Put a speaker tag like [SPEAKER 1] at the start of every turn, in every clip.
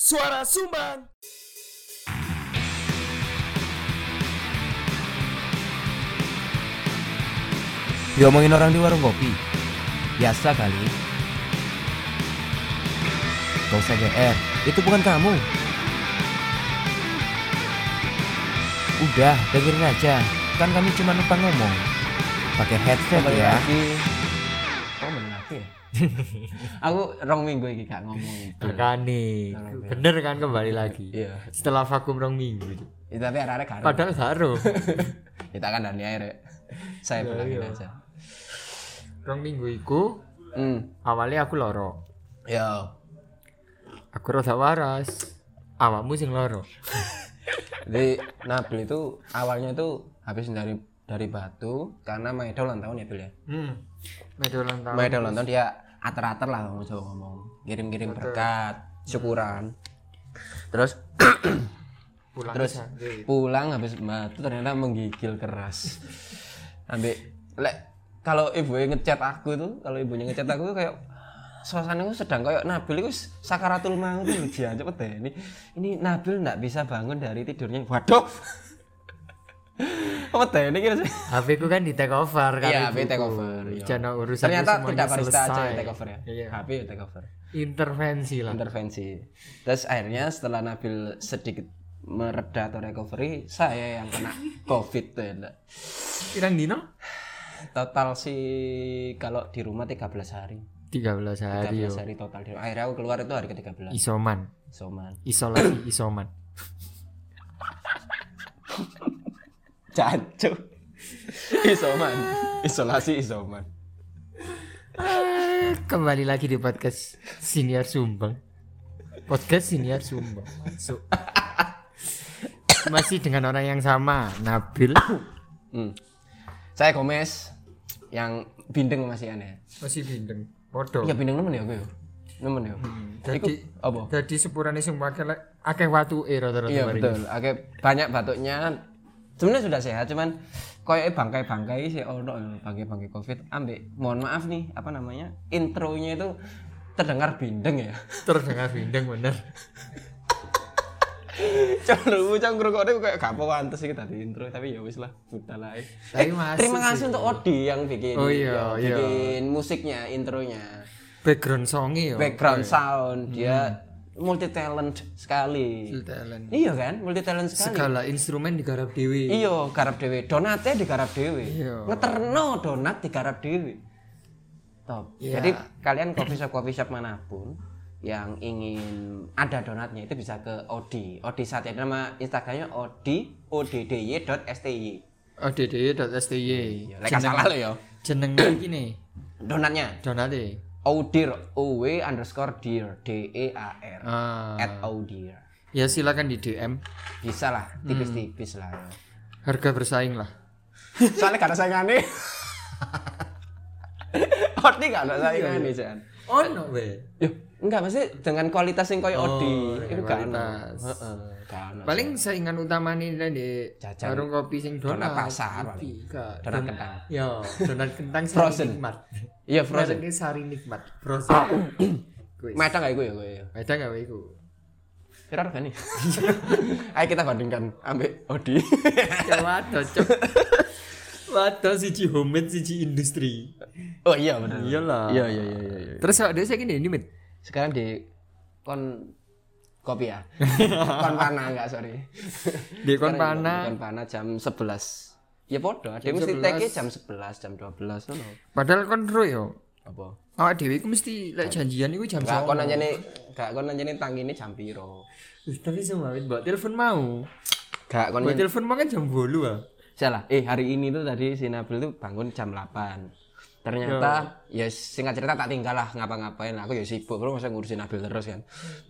[SPEAKER 1] Suara Sumbang.
[SPEAKER 2] Diomongin orang di warung kopi Biasa kali Gak usah GR Itu bukan kamu Udah, dengerin aja Kan kami cuma numpang ngomong Pakai headset
[SPEAKER 3] Kembali
[SPEAKER 2] ya
[SPEAKER 3] lagi.
[SPEAKER 2] Oh,
[SPEAKER 3] Kok balik lagi ya? Aku rong minggu iki gak ngomong itu.
[SPEAKER 4] Makane, bener kan kembali lagi.
[SPEAKER 3] Iya.
[SPEAKER 4] Setelah vakum rong minggu.
[SPEAKER 3] Ya, tapi arek-arek gak.
[SPEAKER 4] Padahal baru
[SPEAKER 3] Kita kan dari air. ya. Saya bilangin aja.
[SPEAKER 4] rong minggu iku
[SPEAKER 3] Hmm.
[SPEAKER 4] awalnya aku loro.
[SPEAKER 3] Yo.
[SPEAKER 4] Aku rasa waras. Awakmu sing loro.
[SPEAKER 3] Jadi Nabil itu awalnya itu habis dari dari Batu karena Maido ulang tahun ya Bil ya.
[SPEAKER 4] Hmm. Medo ulang tahun.
[SPEAKER 3] Maido ulang tahun dia ater-ater lah ngomong Jawa ngomong. Kirim-kirim berkat, syukuran. Terus
[SPEAKER 4] Pulang
[SPEAKER 3] terus
[SPEAKER 4] bisa.
[SPEAKER 3] pulang habis batu ternyata menggigil keras ambek lek kalau ibu ngechat aku tuh kalau ibunya ngechat aku tuh kayak suasananya tuh sedang kayak Nabil itu sakaratul maut tuh dia cepet deh ini ini Nabil nggak bisa bangun dari tidurnya waduh apa teh ini kira sih
[SPEAKER 4] HP ku kan di take over kan.
[SPEAKER 3] Iya, HP take over, iya.
[SPEAKER 4] Jangan urusan
[SPEAKER 3] ternyata tidak barista aja
[SPEAKER 4] selesai.
[SPEAKER 3] yang take over ya
[SPEAKER 4] Iya.
[SPEAKER 3] HP yang take over
[SPEAKER 4] Intervensi lah.
[SPEAKER 3] intervensi terus akhirnya setelah Nabil sedikit mereda atau recovery saya yang kena covid tuh ya, Ndak.
[SPEAKER 4] Pirang dino?
[SPEAKER 3] total sih kalau di rumah 13 hari
[SPEAKER 4] 13 hari. yo.
[SPEAKER 3] 13 hari total di rumah. akhirnya aku keluar itu hari ke
[SPEAKER 4] Iya.
[SPEAKER 3] 13
[SPEAKER 4] Isoman,
[SPEAKER 3] soman
[SPEAKER 4] isolasi isoman.
[SPEAKER 3] jancu isoman isolasi isoman
[SPEAKER 4] Eh, Kembali lagi di podcast Siniar Sumbang. Podcast Siniar Sumbang. Masuk. Masih dengan orang yang sama, Nabil.
[SPEAKER 3] hmm. saya Gomez yang bindeng masih aneh
[SPEAKER 4] Masih bindeng. Podo.
[SPEAKER 3] ya bindeng nemen ya gue ya? nemen ya Iku
[SPEAKER 4] Jadi
[SPEAKER 3] apa
[SPEAKER 4] jadi sepurane sing pakai lek- akeh watu e rata-rata
[SPEAKER 3] Iya
[SPEAKER 4] mari.
[SPEAKER 3] betul. Oke, banyak batuknya. Sebenarnya sudah sehat, cuman koyoke bangkai-bangkai sih ono ya, bangkai-bangkai Covid. Ambek mohon maaf nih, apa namanya? Intronya itu terdengar bindeng ya.
[SPEAKER 4] Terdengar bindeng bener.
[SPEAKER 3] Cangkruk, cangkruk kok kayak gak pantes iki tadi intro, tapi ya Eh, wis lah, budal ae.
[SPEAKER 4] Tapi masuk
[SPEAKER 3] Terima
[SPEAKER 4] sih.
[SPEAKER 3] kasih untuk Odi yang bikin
[SPEAKER 4] Oh iya,
[SPEAKER 3] yang
[SPEAKER 4] iya.
[SPEAKER 3] bikin musiknya, intronya.
[SPEAKER 4] Background songe ya. yo.
[SPEAKER 3] Background sound, dia multi talent sekali.
[SPEAKER 4] Talent.
[SPEAKER 3] Iya kan? Multi talent sekali.
[SPEAKER 4] Segala instrumen digarap dewi.
[SPEAKER 3] Iya, garap dhewe. Donate digarap dhewe.
[SPEAKER 4] Iya.
[SPEAKER 3] Ngeterno donat digarap dhewe. Top.
[SPEAKER 4] Iya.
[SPEAKER 3] Jadi kalian coffee shop coffee shop manapun yang ingin ada donatnya itu bisa ke Odi. Odi saat ini nama Instagramnya Odi oddy.sty.
[SPEAKER 4] ODD.STY.
[SPEAKER 3] Ya, lek gak salah lo ya.
[SPEAKER 4] Jeneng iki nih.
[SPEAKER 3] Donatnya
[SPEAKER 4] Donate.
[SPEAKER 3] Odir O W underscore dear D E A R
[SPEAKER 4] Ah.
[SPEAKER 3] at Odir.
[SPEAKER 4] Ya silakan di DM.
[SPEAKER 3] Bisa lah,
[SPEAKER 4] Hmm.
[SPEAKER 3] tipis-tipis lah. ya.
[SPEAKER 4] Harga bersaing lah.
[SPEAKER 3] Soalnya karena saya ngane. Odi gak ada saingannya, Jan.
[SPEAKER 4] Oh no we.
[SPEAKER 3] Yo, enggak mesti dengan kualitas yang koyo Odi.
[SPEAKER 4] dengan
[SPEAKER 3] Itu kan.
[SPEAKER 4] kualitas.
[SPEAKER 3] Heeh, kan.
[SPEAKER 4] Paling saingan utama nih lah di
[SPEAKER 3] Jajan.
[SPEAKER 4] warung kopi sing donat.
[SPEAKER 3] Donat pasar
[SPEAKER 4] Iki, Kak.
[SPEAKER 3] Donat kentang.
[SPEAKER 4] Yo, iya, donat kentang
[SPEAKER 3] Frozen.
[SPEAKER 4] sari nikmat.
[SPEAKER 3] Iya,
[SPEAKER 4] Frozen
[SPEAKER 3] Frozen.
[SPEAKER 4] ini sari nikmat. Frozen. Kuis.
[SPEAKER 3] Meta enggak iku ya kowe ya.
[SPEAKER 4] Ada nggak we iku?
[SPEAKER 3] Kira regane. Ayo kita bandingkan ambek Odi.
[SPEAKER 4] Ya waduh, cok. Waduh siji homemade siji industri.
[SPEAKER 3] oh iya benar.
[SPEAKER 4] Iyalah.
[SPEAKER 3] Iya iya iya iya. iya.
[SPEAKER 4] Terus ada saya gini ini, Mit.
[SPEAKER 3] Sekarang di kon kopi ya. kon panah enggak sorry.
[SPEAKER 4] Di kon
[SPEAKER 3] Sekarang di
[SPEAKER 4] panah.
[SPEAKER 3] Kon panah jam 11. Ya podo, ada yang mesti
[SPEAKER 4] 11.
[SPEAKER 3] tag jam 11, jam 12 ngono.
[SPEAKER 4] Padahal kon ro yo.
[SPEAKER 3] Apa?
[SPEAKER 4] Awak dhewe iku mesti lek janjian iku jam
[SPEAKER 3] Enggak
[SPEAKER 4] songo.
[SPEAKER 3] kon nanyane, enggak kon nanyane tangine jam piro.
[SPEAKER 4] Ih, Tapi semua Mit, mbok telepon mau.
[SPEAKER 3] Enggak kon
[SPEAKER 4] Buat telepon mah kan jam bolu ah.
[SPEAKER 3] Salah. Eh hari ini tuh tadi si Nabil tuh bangun jam 8. Ternyata ya singkat cerita tak tinggal lah ngapa-ngapain. Aku ya sibuk terus masa ngurusin Nabil terus kan.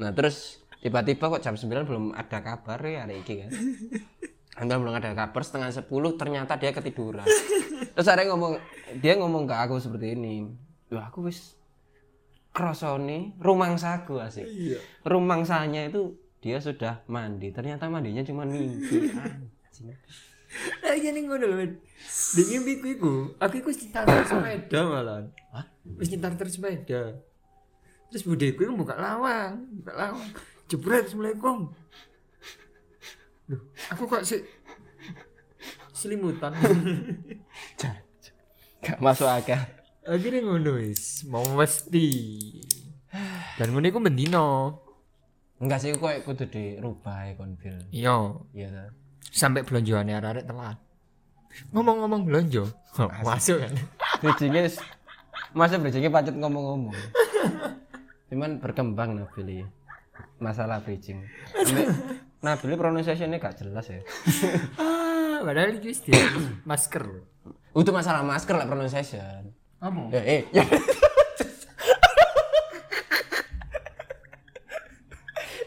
[SPEAKER 3] Nah, terus tiba-tiba kok jam 9 belum ada kabar ya hari ini kan. Ambil belum ada kabar setengah 10 ternyata dia ketiduran. terus ada yang ngomong dia ngomong ke aku seperti ini. Wah, aku wis krosone rumangsaku asik.
[SPEAKER 4] Iya.
[SPEAKER 3] Rumangsanya itu dia sudah mandi. Ternyata mandinya cuma mimpi. Anjing.
[SPEAKER 4] Lagi iya nih ngono lho. Di mimpiku iku, aku iku wis nyetar sepeda malan. Hah? Wis nyetar sepeda. Terus budeku iku buka lawang, buka lawang. jebret assalamualaikum Duh, aku kok si selimutan
[SPEAKER 3] Gak masuk akal.
[SPEAKER 4] akhirnya ngono wis mau mesti dan ngono iku mendino
[SPEAKER 3] Enggak sih kok kudu dirubah ya konfil.
[SPEAKER 4] iya
[SPEAKER 3] Iya ta.
[SPEAKER 4] sampai belonjoane arek-arek telat ngomong-ngomong belonjo masuk kan
[SPEAKER 3] Bridgingnya s- masa bridgingnya pacet ngomong-ngomong. Cuman berkembang Nabil ya. Masalah bridging. Ambek- Nabil pronunciation-nya gak jelas ya.
[SPEAKER 4] ah padahal itu dia masker loh
[SPEAKER 3] Itu masalah masker lah pronunciation.
[SPEAKER 4] kamu
[SPEAKER 3] Eh, eh. ya.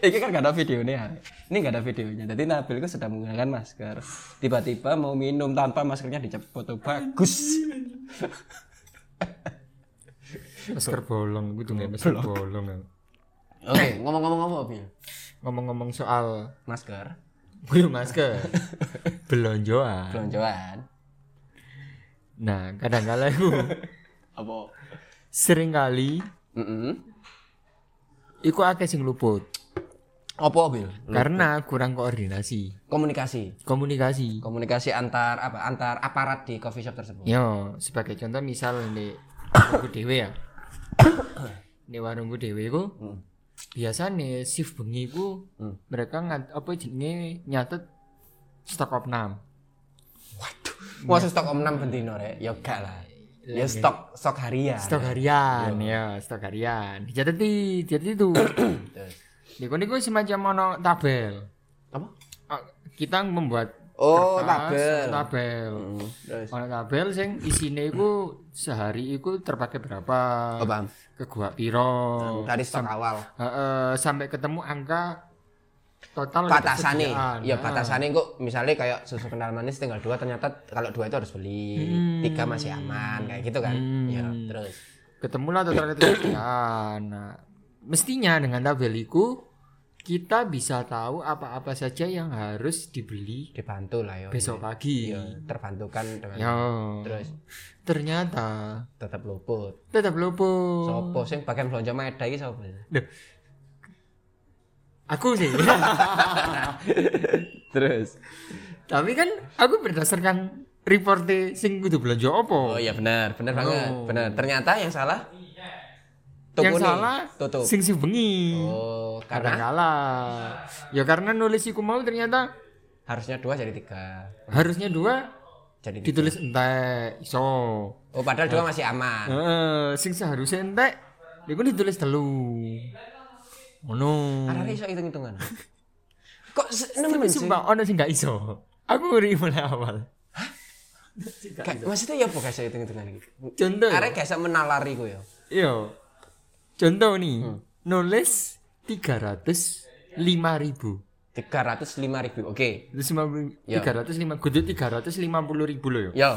[SPEAKER 3] Ini kan gak ada videonya. Ini gak ada videonya. Jadi Nabil itu sedang menggunakan masker. Tiba-tiba mau minum tanpa maskernya dicopot. Oh, Bagus.
[SPEAKER 4] masker bolong gue tuh nggak masker bolong
[SPEAKER 3] Oke, ngomong-ngomong apa, Bil?
[SPEAKER 4] ngomong-ngomong soal
[SPEAKER 3] Masker,
[SPEAKER 4] gue masker belonjoan
[SPEAKER 3] belonjoan.
[SPEAKER 4] nah kadang kala aku
[SPEAKER 3] Apa?
[SPEAKER 4] sering kali
[SPEAKER 3] Heeh.
[SPEAKER 4] iku akeh sing luput
[SPEAKER 3] Apa, Bil?
[SPEAKER 4] karena kurang koordinasi
[SPEAKER 3] Komunikasi.
[SPEAKER 4] komunikasi
[SPEAKER 3] Komunikasi antar apa? Antar aparat di coffee shop tersebut.
[SPEAKER 4] yo sebagai contoh misal di warungku dewe ya di warungku dewe ku
[SPEAKER 3] Hmm.
[SPEAKER 4] biasanya shift bengi ku
[SPEAKER 3] Hmm.
[SPEAKER 4] mereka ngat, apa jenenge nyatet stok opnam
[SPEAKER 3] Wah, stok om 6 bentino, Rek. Ya gak lah. Ya stok stok harian.
[SPEAKER 4] Iya, stok harian
[SPEAKER 3] Iya.
[SPEAKER 4] ya stok harian dicatet di dicatet itu
[SPEAKER 3] Terus.
[SPEAKER 4] Niku niku semacam ono tabel.
[SPEAKER 3] Apa?
[SPEAKER 4] Ah, Kita membuat
[SPEAKER 3] Oh,
[SPEAKER 4] kertas,
[SPEAKER 3] tabel.
[SPEAKER 4] Tabel.
[SPEAKER 3] Terus.
[SPEAKER 4] Ono tabel sing isine iku sehari iku terpakai berapa?
[SPEAKER 3] Oh, paham.
[SPEAKER 4] Ke gua piro?
[SPEAKER 3] Dari stok awal.
[SPEAKER 4] Heeh, sampai ketemu angka total
[SPEAKER 3] Batasane.
[SPEAKER 4] ketersediaan. Oh, Ah.
[SPEAKER 3] Ya batasane kok misalnya kayak susu kental manis tinggal dua ternyata kalau dua itu harus beli.
[SPEAKER 4] Hmm.
[SPEAKER 3] Tiga masih aman kayak gitu kan. Ya, terus.
[SPEAKER 4] Ketemulah total ketersediaan. Nah, mestinya dengan tabel iku kita bisa tahu apa-apa saja yang harus dibeli
[SPEAKER 3] Dibantu lah yo.
[SPEAKER 4] besok pagi.
[SPEAKER 3] Ya, terbantukan dengan
[SPEAKER 4] Ya.
[SPEAKER 3] Iya. terus
[SPEAKER 4] Ternyata
[SPEAKER 3] tetap luput.
[SPEAKER 4] tetap luput.
[SPEAKER 3] Sopo sing bagian belanja Meda iki sopo?
[SPEAKER 4] Aku sih.
[SPEAKER 3] Terus.
[SPEAKER 4] Tapi kan aku berdasarkan reporte sing kudu belanja opo.
[SPEAKER 3] Oh iya benar, benar banget. Benar. Ternyata yang salah
[SPEAKER 4] Oh. Yang
[SPEAKER 3] tukune.
[SPEAKER 4] salah
[SPEAKER 3] tutup.
[SPEAKER 4] sing si bengi.
[SPEAKER 3] Oh,
[SPEAKER 4] Kadang
[SPEAKER 3] karena
[SPEAKER 4] kala. Ya karena nulis iku mau ternyata
[SPEAKER 3] harusnya dua jadi tiga.
[SPEAKER 4] harusnya dua
[SPEAKER 3] Jadi tiga.
[SPEAKER 4] ditulis entek iso.
[SPEAKER 3] Oh, padahal dua masih aman.
[SPEAKER 4] Heeh, sing seharusnya entek ya iku ditulis telu. Ngono.
[SPEAKER 3] Arare iso hitung-hitungan. Kok se-
[SPEAKER 4] Hmm. Tapi
[SPEAKER 3] nemen sih?
[SPEAKER 4] sumpah ono sing gak iso. Aku ngeri mulai awal.
[SPEAKER 3] Kayak- Maksudnya ya apa guys hitung-hitungan iki?
[SPEAKER 4] Contoh.
[SPEAKER 3] Arek gak iso menalari ku ya.
[SPEAKER 4] Yo. Contoh nih,
[SPEAKER 3] Hmm.
[SPEAKER 4] nulis 305 ribu.
[SPEAKER 3] 305 ribu. Oke.
[SPEAKER 4] Itu semua ber-
[SPEAKER 3] Yo.
[SPEAKER 4] 305 kudu 350 ribu loh yo.
[SPEAKER 3] Yo.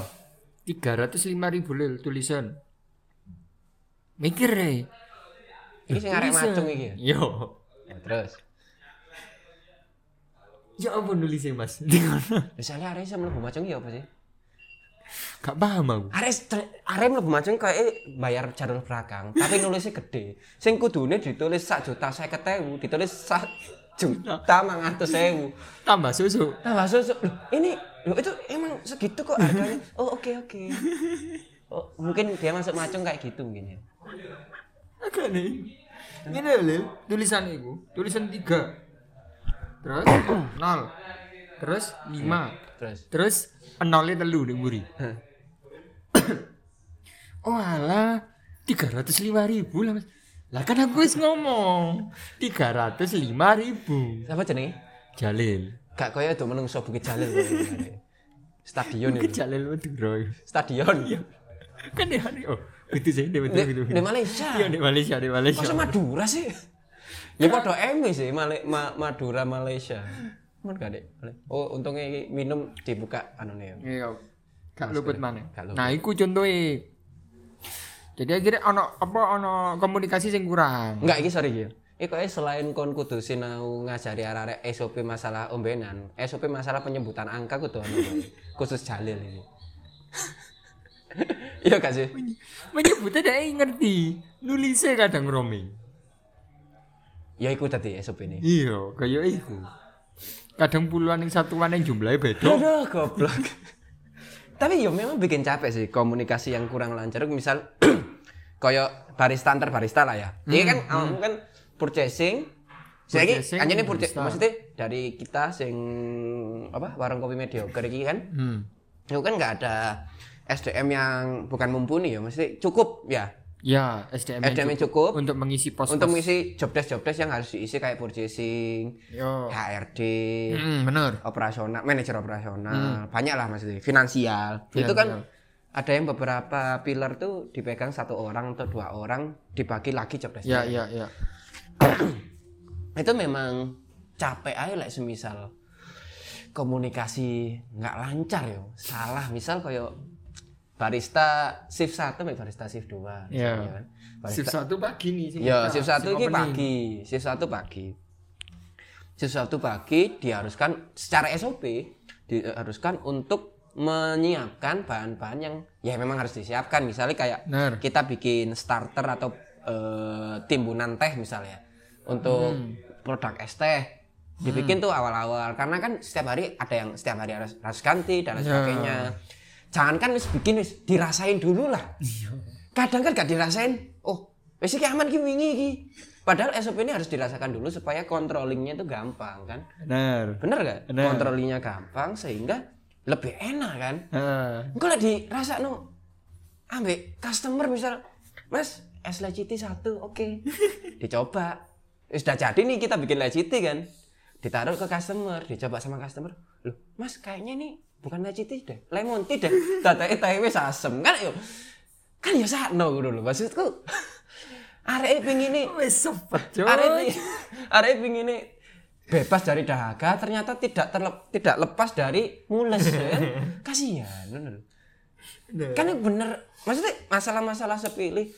[SPEAKER 4] 305 ribu loh tulisan. Mikir deh.
[SPEAKER 3] Iki sing arek macung iki. ya?
[SPEAKER 4] Yo.
[SPEAKER 3] Ya, terus.
[SPEAKER 4] Ya apa nulisnya mas? Dengar.
[SPEAKER 3] Misalnya arek iso mlebu macung ya apa sih?
[SPEAKER 4] Gak paham aku.
[SPEAKER 3] Arek stre- arek mlebu macung kayak bayar jalur belakang, tapi nulisnya gede. Sing kudune ditulis sak juta 50.000, ditulis sak juta 900.000.
[SPEAKER 4] Tambah susu.
[SPEAKER 3] Nah, langsung langsung, "Loh, ini loh, itu emang segitu kok harganya. Oh, oke oke. Oh, mungkin dia masuk macung kayak gitu mungkin ya.
[SPEAKER 4] Agak nih. Ini loh tulisan itu. Tulisan 3. Terus 0. Terus 5.
[SPEAKER 3] Terus.
[SPEAKER 4] Terus nolnya telu ning mburi.
[SPEAKER 3] Heh.
[SPEAKER 4] oh alah, 305 ribu lah mas. Lah kan aku wis ngomong 305 ribu.
[SPEAKER 3] Apa jenenge?
[SPEAKER 4] Jalil.
[SPEAKER 3] Gak koyo do menungso Bukit Jalil kok ini. Stadion
[SPEAKER 4] Mungkin
[SPEAKER 3] itu.
[SPEAKER 4] Kan Jalil Madura.
[SPEAKER 3] Stadion.
[SPEAKER 4] Kan dia hari oh itu sih dia betul gitu.
[SPEAKER 3] Di Malaysia.
[SPEAKER 4] Iya di Malaysia di Malaysia.
[SPEAKER 3] Masa Madura sih? Iya. Ya padha eme sih Male- Ma- Madura Malaysia. Cuman gak dek. Oh, untungnya ini minum dibuka anune ya.
[SPEAKER 4] Iya. Gak luput mana.
[SPEAKER 3] Gak luput.
[SPEAKER 4] Nah, iku contohnya. Jadi akhirnya ono apa ono komunikasi sing kurang.
[SPEAKER 3] Enggak, ini sorry ya. Ini kok selain kon kudu sinau ngajari arek-arek SOP masalah ombenan, SOP masalah penyebutan angka kudu ono. Bang. Khusus Jalil ini. iya gak sih?
[SPEAKER 4] Menyebutnya dia ngerti. Nulisnya kadang roaming.
[SPEAKER 3] ya iku tadi SOP ini
[SPEAKER 4] Iya, kaya iku. Kadang puluhan yang satuan yang jumlahnya beda.
[SPEAKER 3] Aduh, goblok. Tapi yo memang bikin capek sih komunikasi yang kurang lancar. Misal koyo barista antar barista lah ya. Iya kan awakmu kan purchasing. Saya ini
[SPEAKER 4] Purchasing,
[SPEAKER 3] anjane purchasing
[SPEAKER 4] barista.
[SPEAKER 3] maksudnya dari kita sing apa warung kopi mediocre iki kan.
[SPEAKER 4] Hmm.
[SPEAKER 3] Itu kan nggak ada SDM yang bukan mumpuni ya, mesti cukup ya.
[SPEAKER 4] Ya, SDM, -nya
[SPEAKER 3] SDM -nya cukup.
[SPEAKER 4] untuk mengisi pos.
[SPEAKER 3] Untuk mengisi job desk job desk yang harus diisi kayak purchasing,
[SPEAKER 4] Yo.
[SPEAKER 3] HRD,
[SPEAKER 4] Oh. Hmm, bener.
[SPEAKER 3] operasional, manajer
[SPEAKER 4] Hmm.
[SPEAKER 3] operasional, banyak lah maksudnya, finansial. Itu kan ada yang beberapa pilar tuh dipegang satu orang atau dua orang dibagi lagi job desk.
[SPEAKER 4] Ya, ya, ya.
[SPEAKER 3] Itu memang capek aja lah semisal komunikasi nggak lancar yo, salah misal koyo barista shift satu sampai barista shift dua,
[SPEAKER 4] Iya.
[SPEAKER 3] misalnya kan. Barista-
[SPEAKER 4] Shift satu pagi nih. sing
[SPEAKER 3] Ya,
[SPEAKER 4] kita,
[SPEAKER 3] shift satu
[SPEAKER 4] sing
[SPEAKER 3] ini
[SPEAKER 4] opening.
[SPEAKER 3] pagi, shift satu pagi. Shift satu pagi diharuskan secara SOP diharuskan untuk menyiapkan bahan-bahan yang ya memang harus disiapkan. Misalnya kayak
[SPEAKER 4] Bener.
[SPEAKER 3] kita bikin starter atau eh, timbunan teh misalnya untuk produk es teh dibikin tuh awal-awal karena kan setiap hari ada yang setiap hari harus, harus ganti dan lain sebagainya. Jangan kan wis bikin wis dirasain dulu lah kadang kan gak dirasain oh wis iki aman ki wingi iki padahal SOP ini harus dirasakan dulu supaya controllingnya itu gampang kan
[SPEAKER 4] Bener.
[SPEAKER 3] bener gak
[SPEAKER 4] Bener.
[SPEAKER 3] controllingnya gampang sehingga lebih enak kan
[SPEAKER 4] Heeh.
[SPEAKER 3] gue lah dirasa no ambek customer misal mas es leciti satu oke dicoba Eh, sudah jadi nih kita bikin leciti kan ditaruh ke customer dicoba sama customer loh mas kayaknya ini bukan leciti deh lemon tea deh tatae teh wis asem kan yo kan ya sakno ngono lho maksudku arek pingin ini
[SPEAKER 4] Wes sempet, Cuk.
[SPEAKER 3] Arek arek ini bebas dari dahaga ternyata tidak terlep- tidak lepas dari mules ya. Kasihan. bener.
[SPEAKER 4] Bener.
[SPEAKER 3] Kan yang bener maksudnya masalah-masalah sepilih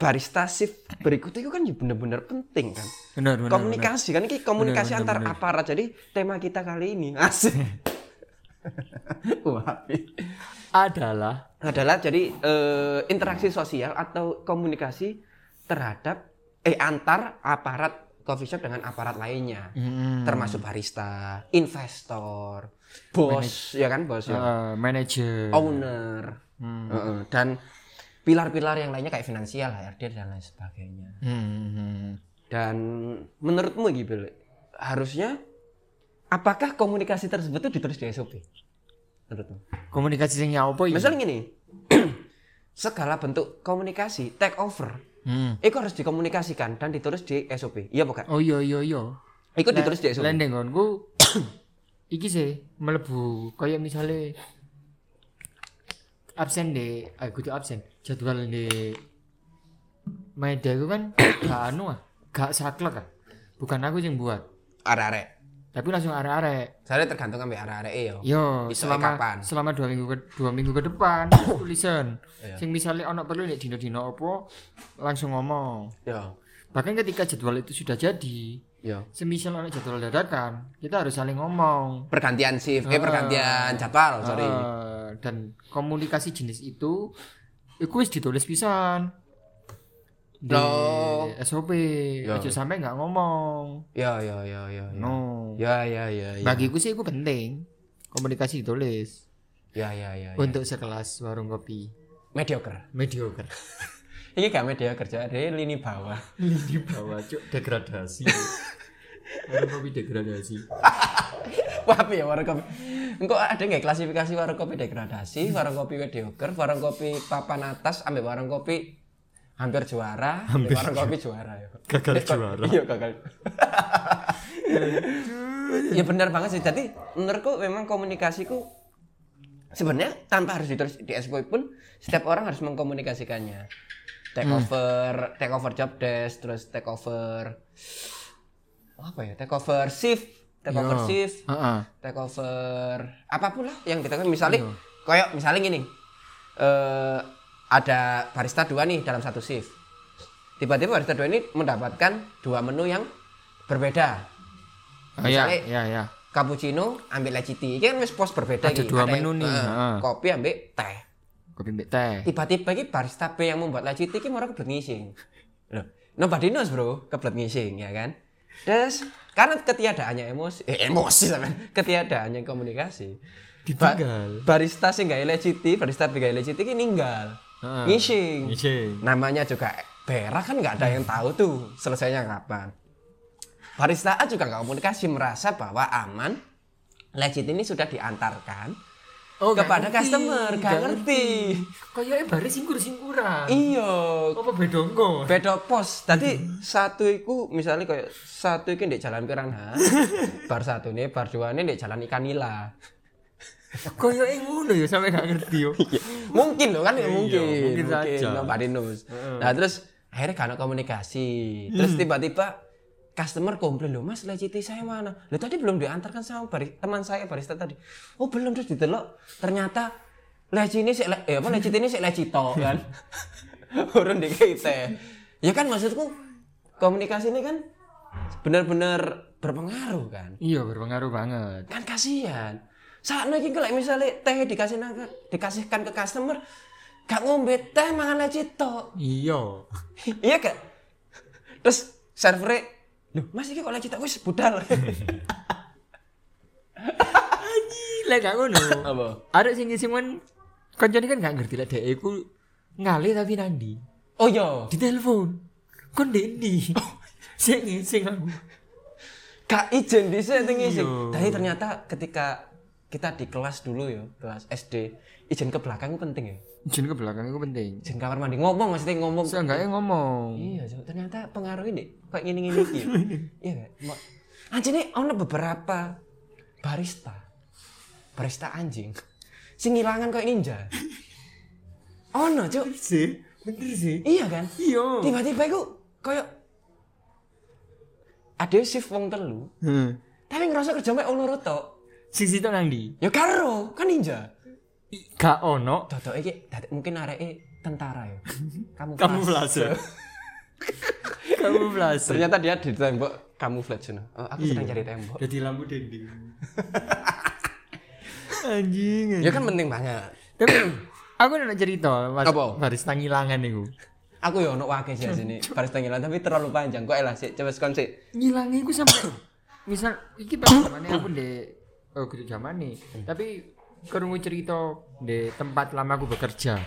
[SPEAKER 3] barista shift berikutnya itu kan ya bener-bener penting kan.
[SPEAKER 4] Bener, bener,
[SPEAKER 3] komunikasi kan ini komunikasi
[SPEAKER 4] Bener, bener,
[SPEAKER 3] antar
[SPEAKER 4] bener.
[SPEAKER 3] aparat. Jadi tema kita kali ini asik. Wah,
[SPEAKER 4] adalah
[SPEAKER 3] adalah jadi eh, interaksi sosial atau komunikasi terhadap eh antar aparat coffee shop dengan aparat lainnya termasuk barista, investor, bos ya kan bos ya, Oh.
[SPEAKER 4] eh, manajer.
[SPEAKER 3] owner Heeh, dan pilar-pilar yang lainnya kayak finansial, HRD dan lain sebagainya.
[SPEAKER 4] Hmm.
[SPEAKER 3] Dan menurutmu gitu harusnya apakah komunikasi tersebut itu ditulis di SOP? Menurutmu?
[SPEAKER 4] Komunikasi sing apa ya?
[SPEAKER 3] Misalnya gini, segala bentuk komunikasi, take over,
[SPEAKER 4] Hmm.
[SPEAKER 3] itu harus dikomunikasikan dan ditulis di SOP. Iya bukan?
[SPEAKER 4] Oh iya iya iya.
[SPEAKER 3] Itu ditulis di SOP.
[SPEAKER 4] Landing onku iki sih melebu kayak misalnya absen di eh kudu absen jadwal di Maeda itu kan gak anu ah, gak saklek kan. Bukan aku yang buat,
[SPEAKER 3] Arek-arek.
[SPEAKER 4] tapi langsung arek-arek.
[SPEAKER 3] Saya tergantung ambil arek-arek iya. yo.
[SPEAKER 4] Yo,
[SPEAKER 3] Bisa
[SPEAKER 4] selama
[SPEAKER 3] kapan?
[SPEAKER 4] selama dua minggu ke dua minggu ke depan tulisan. Sing misalnya ono perlu nih dino-dino opo langsung ngomong.
[SPEAKER 3] Yo.
[SPEAKER 4] Bahkan ketika jadwal itu sudah jadi,
[SPEAKER 3] Yo.
[SPEAKER 4] semisal ono jadwal dadakan, kita harus saling ngomong.
[SPEAKER 3] Pergantian shift, eh pergantian jadwal, sorry.
[SPEAKER 4] Eh, dan komunikasi jenis itu iku wis ditulis pisan. Di
[SPEAKER 3] Loh.
[SPEAKER 4] SOP,
[SPEAKER 3] Ya.
[SPEAKER 4] aja sampai nggak ngomong.
[SPEAKER 3] Yo yo yo yo. yo.
[SPEAKER 4] No.
[SPEAKER 3] Ya ya ya ya.
[SPEAKER 4] Bagiku sih itu penting. Komunikasi ditulis
[SPEAKER 3] Ya ya ya. ya.
[SPEAKER 4] untuk sekelas warung kopi
[SPEAKER 3] Mediocre.
[SPEAKER 4] mediocre.
[SPEAKER 3] Ini gak mediocre, jadi lini bawah.
[SPEAKER 4] Di bawah cuk degradasi. warung kopi degradasi.
[SPEAKER 3] Wapi ya warung kopi. Engko ada nggak klasifikasi warung kopi degradasi, warung kopi mediocre, warung kopi papan atas, ambil warung kopi hampir juara, ambil warung kopi juara ya.
[SPEAKER 4] Gagal
[SPEAKER 3] Eh, kok-
[SPEAKER 4] juara.
[SPEAKER 3] Iya gagal. ya benar banget sih. Jadi menurutku memang komunikasiku sebenarnya tanpa harus ditulis di SPO pun setiap orang harus mengkomunikasikannya. Take over, take over job desk, terus take over apa ya? Take over shift, take over shift,
[SPEAKER 4] Heeh.
[SPEAKER 3] take over apapun lah yang kita
[SPEAKER 4] Iya.
[SPEAKER 3] misalnya kayak misalnya gini eh ada barista dua nih dalam satu shift tiba-tiba barista dua ini mendapatkan dua menu yang berbeda
[SPEAKER 4] Oh, ya,
[SPEAKER 3] Misalnya-
[SPEAKER 4] ya, ya.
[SPEAKER 3] cappuccino ambil leciti ini kan wis pos berbeda
[SPEAKER 4] Ada
[SPEAKER 3] iki.
[SPEAKER 4] dua
[SPEAKER 3] yang,
[SPEAKER 4] menu nih,
[SPEAKER 3] eh,
[SPEAKER 4] heeh.
[SPEAKER 3] kopi ambil teh
[SPEAKER 4] Kopi mbek teh.
[SPEAKER 3] tiba-tiba ini barista B yang membuat leciti ini orang kebelet ngising loh nobody knows bro kebelet ngising ya kan Yes, karena ketiadaannya emosi, eh, emosi sampean. ketiadaannya komunikasi. Ba-
[SPEAKER 4] Ditinggal.
[SPEAKER 3] barista sih nggak eleciti, barista nggak eleciti ini ninggal,
[SPEAKER 4] Heeh.
[SPEAKER 3] ngising.
[SPEAKER 4] Ngising.
[SPEAKER 3] Namanya juga berak kan nggak ada yang tahu tuh selesainya kapan. Barista A juga nggak komunikasi merasa bahwa aman, legit ini sudah diantarkan
[SPEAKER 4] Oh, nggak
[SPEAKER 3] kepada
[SPEAKER 4] ngerti,
[SPEAKER 3] customer, kan?
[SPEAKER 4] nggak
[SPEAKER 3] gak ngerti.
[SPEAKER 4] Kayaknya baris singkur-singkuran.
[SPEAKER 3] Iyo,
[SPEAKER 4] Apa bedongo?
[SPEAKER 3] Iya. beda pos tadi satu iku misalnya kayak satu iku di jalan piranha bar satu nih bar dua nih di jalan ikan nila
[SPEAKER 4] Kayaknya ngono ya sampai nggak ngerti yo.
[SPEAKER 3] mungkin loh kan ya mungkin
[SPEAKER 4] mungkin saja.
[SPEAKER 3] no, Pak Dinus. nah terus akhirnya karena komunikasi terus tiba-tiba customer komplain loh mas leciti saya mana lo tadi belum diantarkan sama bari- teman saya barista tadi oh belum terus ditelok ternyata leci ini sih le- eh, apa leciti ini sih lecito kan urun di kita ya kan maksudku komunikasi ini kan benar-benar berpengaruh kan
[SPEAKER 4] Iya berpengaruh banget.
[SPEAKER 3] kan kasihan saat lagi kalau misalnya teh dikasih nang- dikasihkan ke customer gak ngombe teh mangan leci tok
[SPEAKER 4] Iya.
[SPEAKER 3] iya gak terus servernya loh mas ini kok leci tok wis budal
[SPEAKER 4] Lek gak ngono.
[SPEAKER 3] Apa?
[SPEAKER 4] Ada sing ngisi men kancane kan gak ngerti lek dhek iku ngalih tapi nandi.
[SPEAKER 3] oh iya
[SPEAKER 4] Ditelepon. Kon ndi?
[SPEAKER 3] Oh.
[SPEAKER 4] Sing ngisi aku.
[SPEAKER 3] gak izin di setting ngisi
[SPEAKER 4] Iya.
[SPEAKER 3] tapi ternyata ketika kita di kelas dulu ya kelas SD izin ke belakang itu penting ya
[SPEAKER 4] Jen ke belakang itu penting.
[SPEAKER 3] izin kamar mandi ngomong maksudnya ngomong
[SPEAKER 4] Seenggaknya ngomong.
[SPEAKER 3] Iya, Cuk. ternyata pengaruhnya nih kayak gini-gini iki. Iya kan? Ma- Anjing nih ono beberapa barista. Barista anjing. Sing ngilangan kayak ninja. Ono, Cuk.
[SPEAKER 4] Sih, bener sih.
[SPEAKER 3] Iya kan?
[SPEAKER 4] Iya.
[SPEAKER 3] Tiba-tiba iku kayak ada shift wong telu,
[SPEAKER 4] Heeh.
[SPEAKER 3] tapi ngerasa kerja mek wong loro tok.
[SPEAKER 4] Sing situ nandi.
[SPEAKER 3] Ya karo, kan ninja.
[SPEAKER 4] I- Gak ono.
[SPEAKER 3] Dodok iki dadi- mungkin areke tentara ya. Kamu
[SPEAKER 4] Kamuflase. Kamuflase.
[SPEAKER 3] Ternyata dia di tembok kamuflase. Oh, aku
[SPEAKER 4] Iya.
[SPEAKER 3] sedang cari tembok.
[SPEAKER 4] Jadi lampu dinding. anjing. anjing.
[SPEAKER 3] Ya kan penting banget.
[SPEAKER 4] Tapi aku nak cerita mas
[SPEAKER 3] Apa?
[SPEAKER 4] barista ngilangan itu.
[SPEAKER 3] Aku ya ono wae sih sini. Baris tenggelam tapi terlalu panjang. Kok elah sih coba sekon sih.
[SPEAKER 4] Ngilangnya itu sampai misal iki pas zamannya aku di oh gitu zaman nih. Tapi kerungu cerita di tempat lama aku bekerja.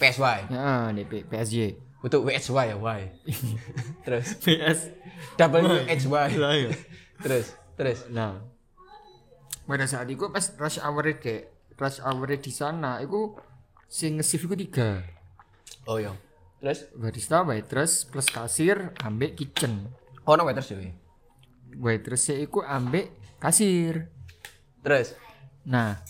[SPEAKER 3] PSY.
[SPEAKER 4] Ya, di P- PSJ.
[SPEAKER 3] Untuk WSY ya, Y. terus
[SPEAKER 4] PS.
[SPEAKER 3] WHY.
[SPEAKER 4] iya.
[SPEAKER 3] terus, terus.
[SPEAKER 4] Nah, pada saat itu pas rush hour kayak rush hour di sana, itu sing nge-shift itu tiga
[SPEAKER 3] Oh iya. Terus
[SPEAKER 4] barista, waitress, plus kasir, ambek kitchen.
[SPEAKER 3] ono wae terus ya.
[SPEAKER 4] Waitress itu ambek kasir.
[SPEAKER 3] Terus.
[SPEAKER 4] Nah,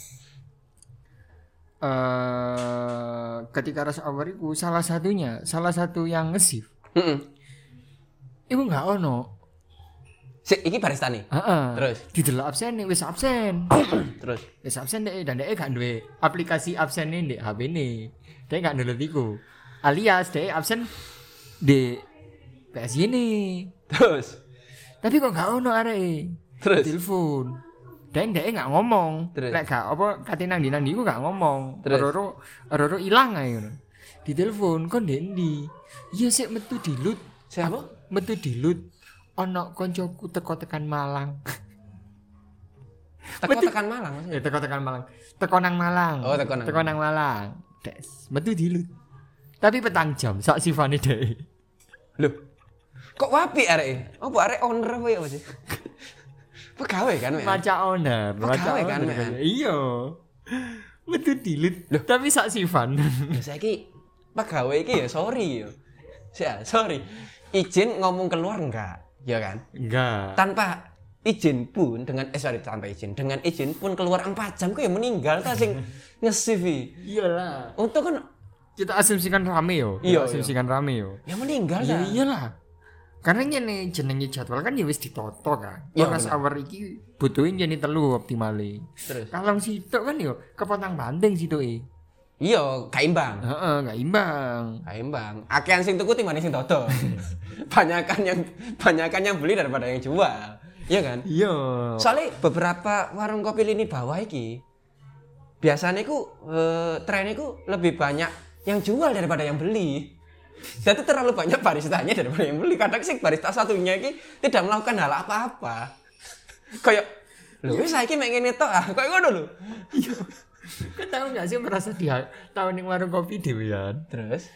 [SPEAKER 4] eh ketika rush hour itu salah satunya, salah satu yang nge-shift,
[SPEAKER 3] Heeh.
[SPEAKER 4] itu nggak ono.
[SPEAKER 3] Sik iki barista nih.
[SPEAKER 4] Heeh.
[SPEAKER 3] Terus?
[SPEAKER 4] didelok absen nih, wis absen.
[SPEAKER 3] Terus.
[SPEAKER 4] Wis absen deh, dan deh gak duwe aplikasi absen ini di HP ini. Deh gak download iku. Alias deh absen di PS ini.
[SPEAKER 3] Terus.
[SPEAKER 4] Tapi kok gak ono arek. e?
[SPEAKER 3] Terus.
[SPEAKER 4] Telepon. Dan deh gak ngomong.
[SPEAKER 3] Terus.
[SPEAKER 4] Lek gak apa kate nang di nang di iku gak ngomong.
[SPEAKER 3] Terus.
[SPEAKER 4] Roro roro ilang ae ngono. Di telepon kon dek ndi? Iya sik metu dilut.
[SPEAKER 3] Siapa?
[SPEAKER 4] Metu dilut. Ono koncoku teko tekan Malang.
[SPEAKER 3] Teko tekan Malang maksudnya.
[SPEAKER 4] Eh, teko tekan Malang. Teko nang Malang.
[SPEAKER 3] Oh, teko nang-
[SPEAKER 4] Teko nang Malang. Des, metu dilut. Tapi petang jam sak sifane dhek.
[SPEAKER 3] Loh. Kok wapi arek? Apa arek owner apa ya apa sih? Pegawai kan, Mek?
[SPEAKER 4] Maca owner,
[SPEAKER 3] Oh,
[SPEAKER 4] maca
[SPEAKER 3] gawe
[SPEAKER 4] owner.
[SPEAKER 3] kan, Mek?
[SPEAKER 4] Iya. Metu dilut. Tapi sak sifan.
[SPEAKER 3] Terus Ya, saiki pegawai iki ya sorry ya. Ya, sorry. Izin ngomong keluar enggak? Ya kan?
[SPEAKER 4] Enggak.
[SPEAKER 3] Tanpa izin pun dengan eh sorry tanpa izin dengan izin pun keluar 4 jam ku ya meninggal ta sing nge-CV.
[SPEAKER 4] Iyalah.
[SPEAKER 3] Untung kan
[SPEAKER 4] Kita asumsikan rame yo. Kita
[SPEAKER 3] Iya, iya.
[SPEAKER 4] asumsikan rame yo.
[SPEAKER 3] ya meninggal
[SPEAKER 4] Ya
[SPEAKER 3] ta.
[SPEAKER 4] iyalah. Karena ngene jenenge jadwal kan ya wis ditoto kan. Iya,
[SPEAKER 3] Iya,
[SPEAKER 4] Hours hour iki butuhin jadi telu optimale.
[SPEAKER 3] Terus.
[SPEAKER 4] Kalau situ kan yo kepotong banding situ eh.
[SPEAKER 3] Iya, kaimbang.
[SPEAKER 4] Heeh, nggak imbang.
[SPEAKER 3] Kaimbang. Akean sing tuku timbang sing dodol. banyakan yang banyakan yang beli daripada yang jual. Iya kan?
[SPEAKER 4] Iya.
[SPEAKER 3] Soalnya beberapa warung kopi lini bawah iki biasanya ku eh, tren iku lebih banyak yang jual daripada yang beli. Jadi terlalu banyak baristanya daripada yang beli. Kadang sih barista satunya ini tidak melakukan hal apa-apa. Kayak lho wis saiki mek ngene tok ah. Kayak ngono lho.
[SPEAKER 4] Kan tahu nggak sih merasa di tahun yang warung kopi dewean.
[SPEAKER 3] Terus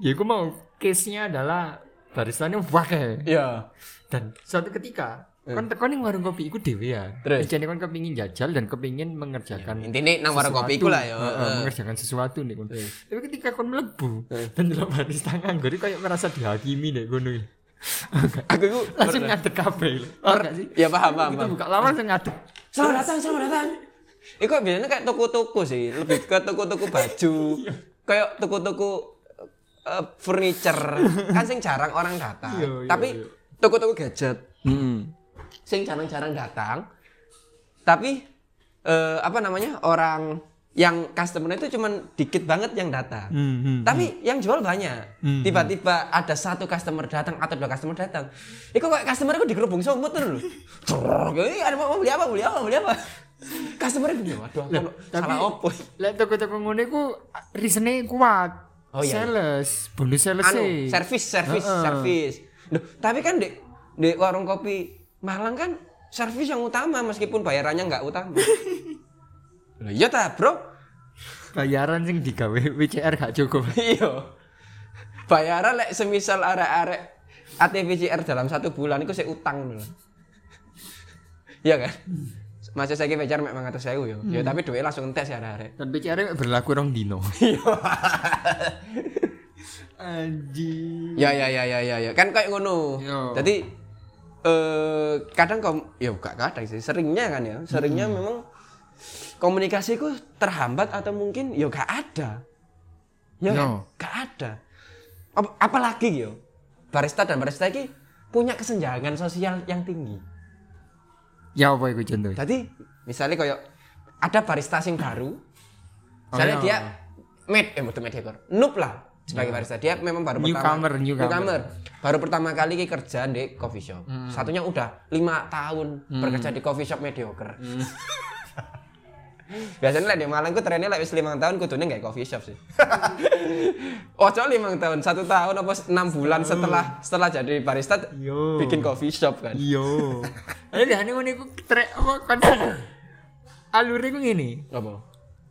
[SPEAKER 4] Ya gue mau case-nya adalah baristanya wakai.
[SPEAKER 3] ya
[SPEAKER 4] Dan suatu ketika kon teko ning warung kopi iku dewean.
[SPEAKER 3] Eh. Terus? Ya,
[SPEAKER 4] Jadi kon kepingin jajal dan kepingin mengerjakan
[SPEAKER 3] intine nang warung kopi iku lah ya.
[SPEAKER 4] Heeh,
[SPEAKER 3] Heeh.
[SPEAKER 4] mengerjakan sesuatu nih kon. Tapi ketika kon mlebu dan delok barista nganggur iki kayak merasa dihakimi nek ngono iki.
[SPEAKER 3] Aku iku
[SPEAKER 4] Langsung ngadeg kabeh. lho. Oh, nggak sih?
[SPEAKER 3] ya paham paham.
[SPEAKER 4] Kita
[SPEAKER 3] paham.
[SPEAKER 4] buka lawan langsung ngadeg.
[SPEAKER 3] Selamat datang, selamat datang. Iku biasanya kayak toko-toko sih, lebih ke toko-toko baju, kayak toko-toko eh, furniture. Kan sing jarang orang datang.
[SPEAKER 4] Iya, iya,
[SPEAKER 3] Tapi
[SPEAKER 4] iya.
[SPEAKER 3] toko-toko gadget. Sing jarang-jarang datang. Tapi eh, apa namanya? Orang yang customer itu cuman dikit banget yang datang. Tapi yang jual banyak. Tiba-tiba ada satu customer datang atau dua customer datang. Iku kok customer aku dikerubung semut tuh lho. Crrrr, ini ada mau mau beli apa, beli apa, beli apa. Customer ini waduh aku lo-
[SPEAKER 4] tapi-
[SPEAKER 3] salah opo.
[SPEAKER 4] Lek toko-toko ngono iku reasone kuat.
[SPEAKER 3] Oh, iya, iya.
[SPEAKER 4] Sales, bonus sales
[SPEAKER 3] Anu,
[SPEAKER 4] sih.
[SPEAKER 3] servis, servis,
[SPEAKER 4] Heeh.
[SPEAKER 3] servis. Duh, tapi kan dek dek warung kopi Malang kan servis yang utama meskipun bayarannya nggak utama. Lah iya ta, Bro.
[SPEAKER 4] Bayaran sing digawe WCR gak cukup.
[SPEAKER 3] Iya. Bayaran lek semisal arek-arek ATVCR dalam satu bulan itu saya utang dulu. Iya kan? Masih saya kejar mek mangatus saya yo. Ya tapi duitnya langsung entes ya arek-arek.
[SPEAKER 4] Dan WCR berlaku rong dino. Anjing.
[SPEAKER 3] Ya ya ya ya ya ya. Kan kayak ngono.
[SPEAKER 4] Iya.
[SPEAKER 3] Jadi eh kadang kom ya gak kadang sih, seringnya kan ya. Seringnya
[SPEAKER 4] Hmm.
[SPEAKER 3] memang komunikasiku terhambat atau mungkin ya gak ada.
[SPEAKER 4] Iya.
[SPEAKER 3] Ya kan? gak ada. Ap- apalagi yo. Barista dan barista ini punya kesenjangan sosial yang tinggi.
[SPEAKER 4] Ya apa iku contohnya?
[SPEAKER 3] Jadi misalnya kayak ada barista sing baru, misalnya
[SPEAKER 4] Oh, iya.
[SPEAKER 3] dia med, eh bukan mediocre, noob lah sebagai barista dia memang baru
[SPEAKER 4] Newcomer,
[SPEAKER 3] pertama
[SPEAKER 4] newcomer. Hmm.
[SPEAKER 3] baru pertama kali ki kerja di coffee shop. Satunya udah lima tahun bekerja di coffee shop mediocre.
[SPEAKER 4] Hmm.
[SPEAKER 3] Biasanya lah di Malang ku trennya lah wis lima tahun kudune nggak coffee shop sih. Ojo lima tahun, satu tahun apa enam bulan setelah setelah jadi barista
[SPEAKER 4] Hmm. Yo.
[SPEAKER 3] bikin coffee shop kan.
[SPEAKER 4] Iya. Ayo dah ning ngene iku trek apa kon alure ku ngene.
[SPEAKER 3] Apa?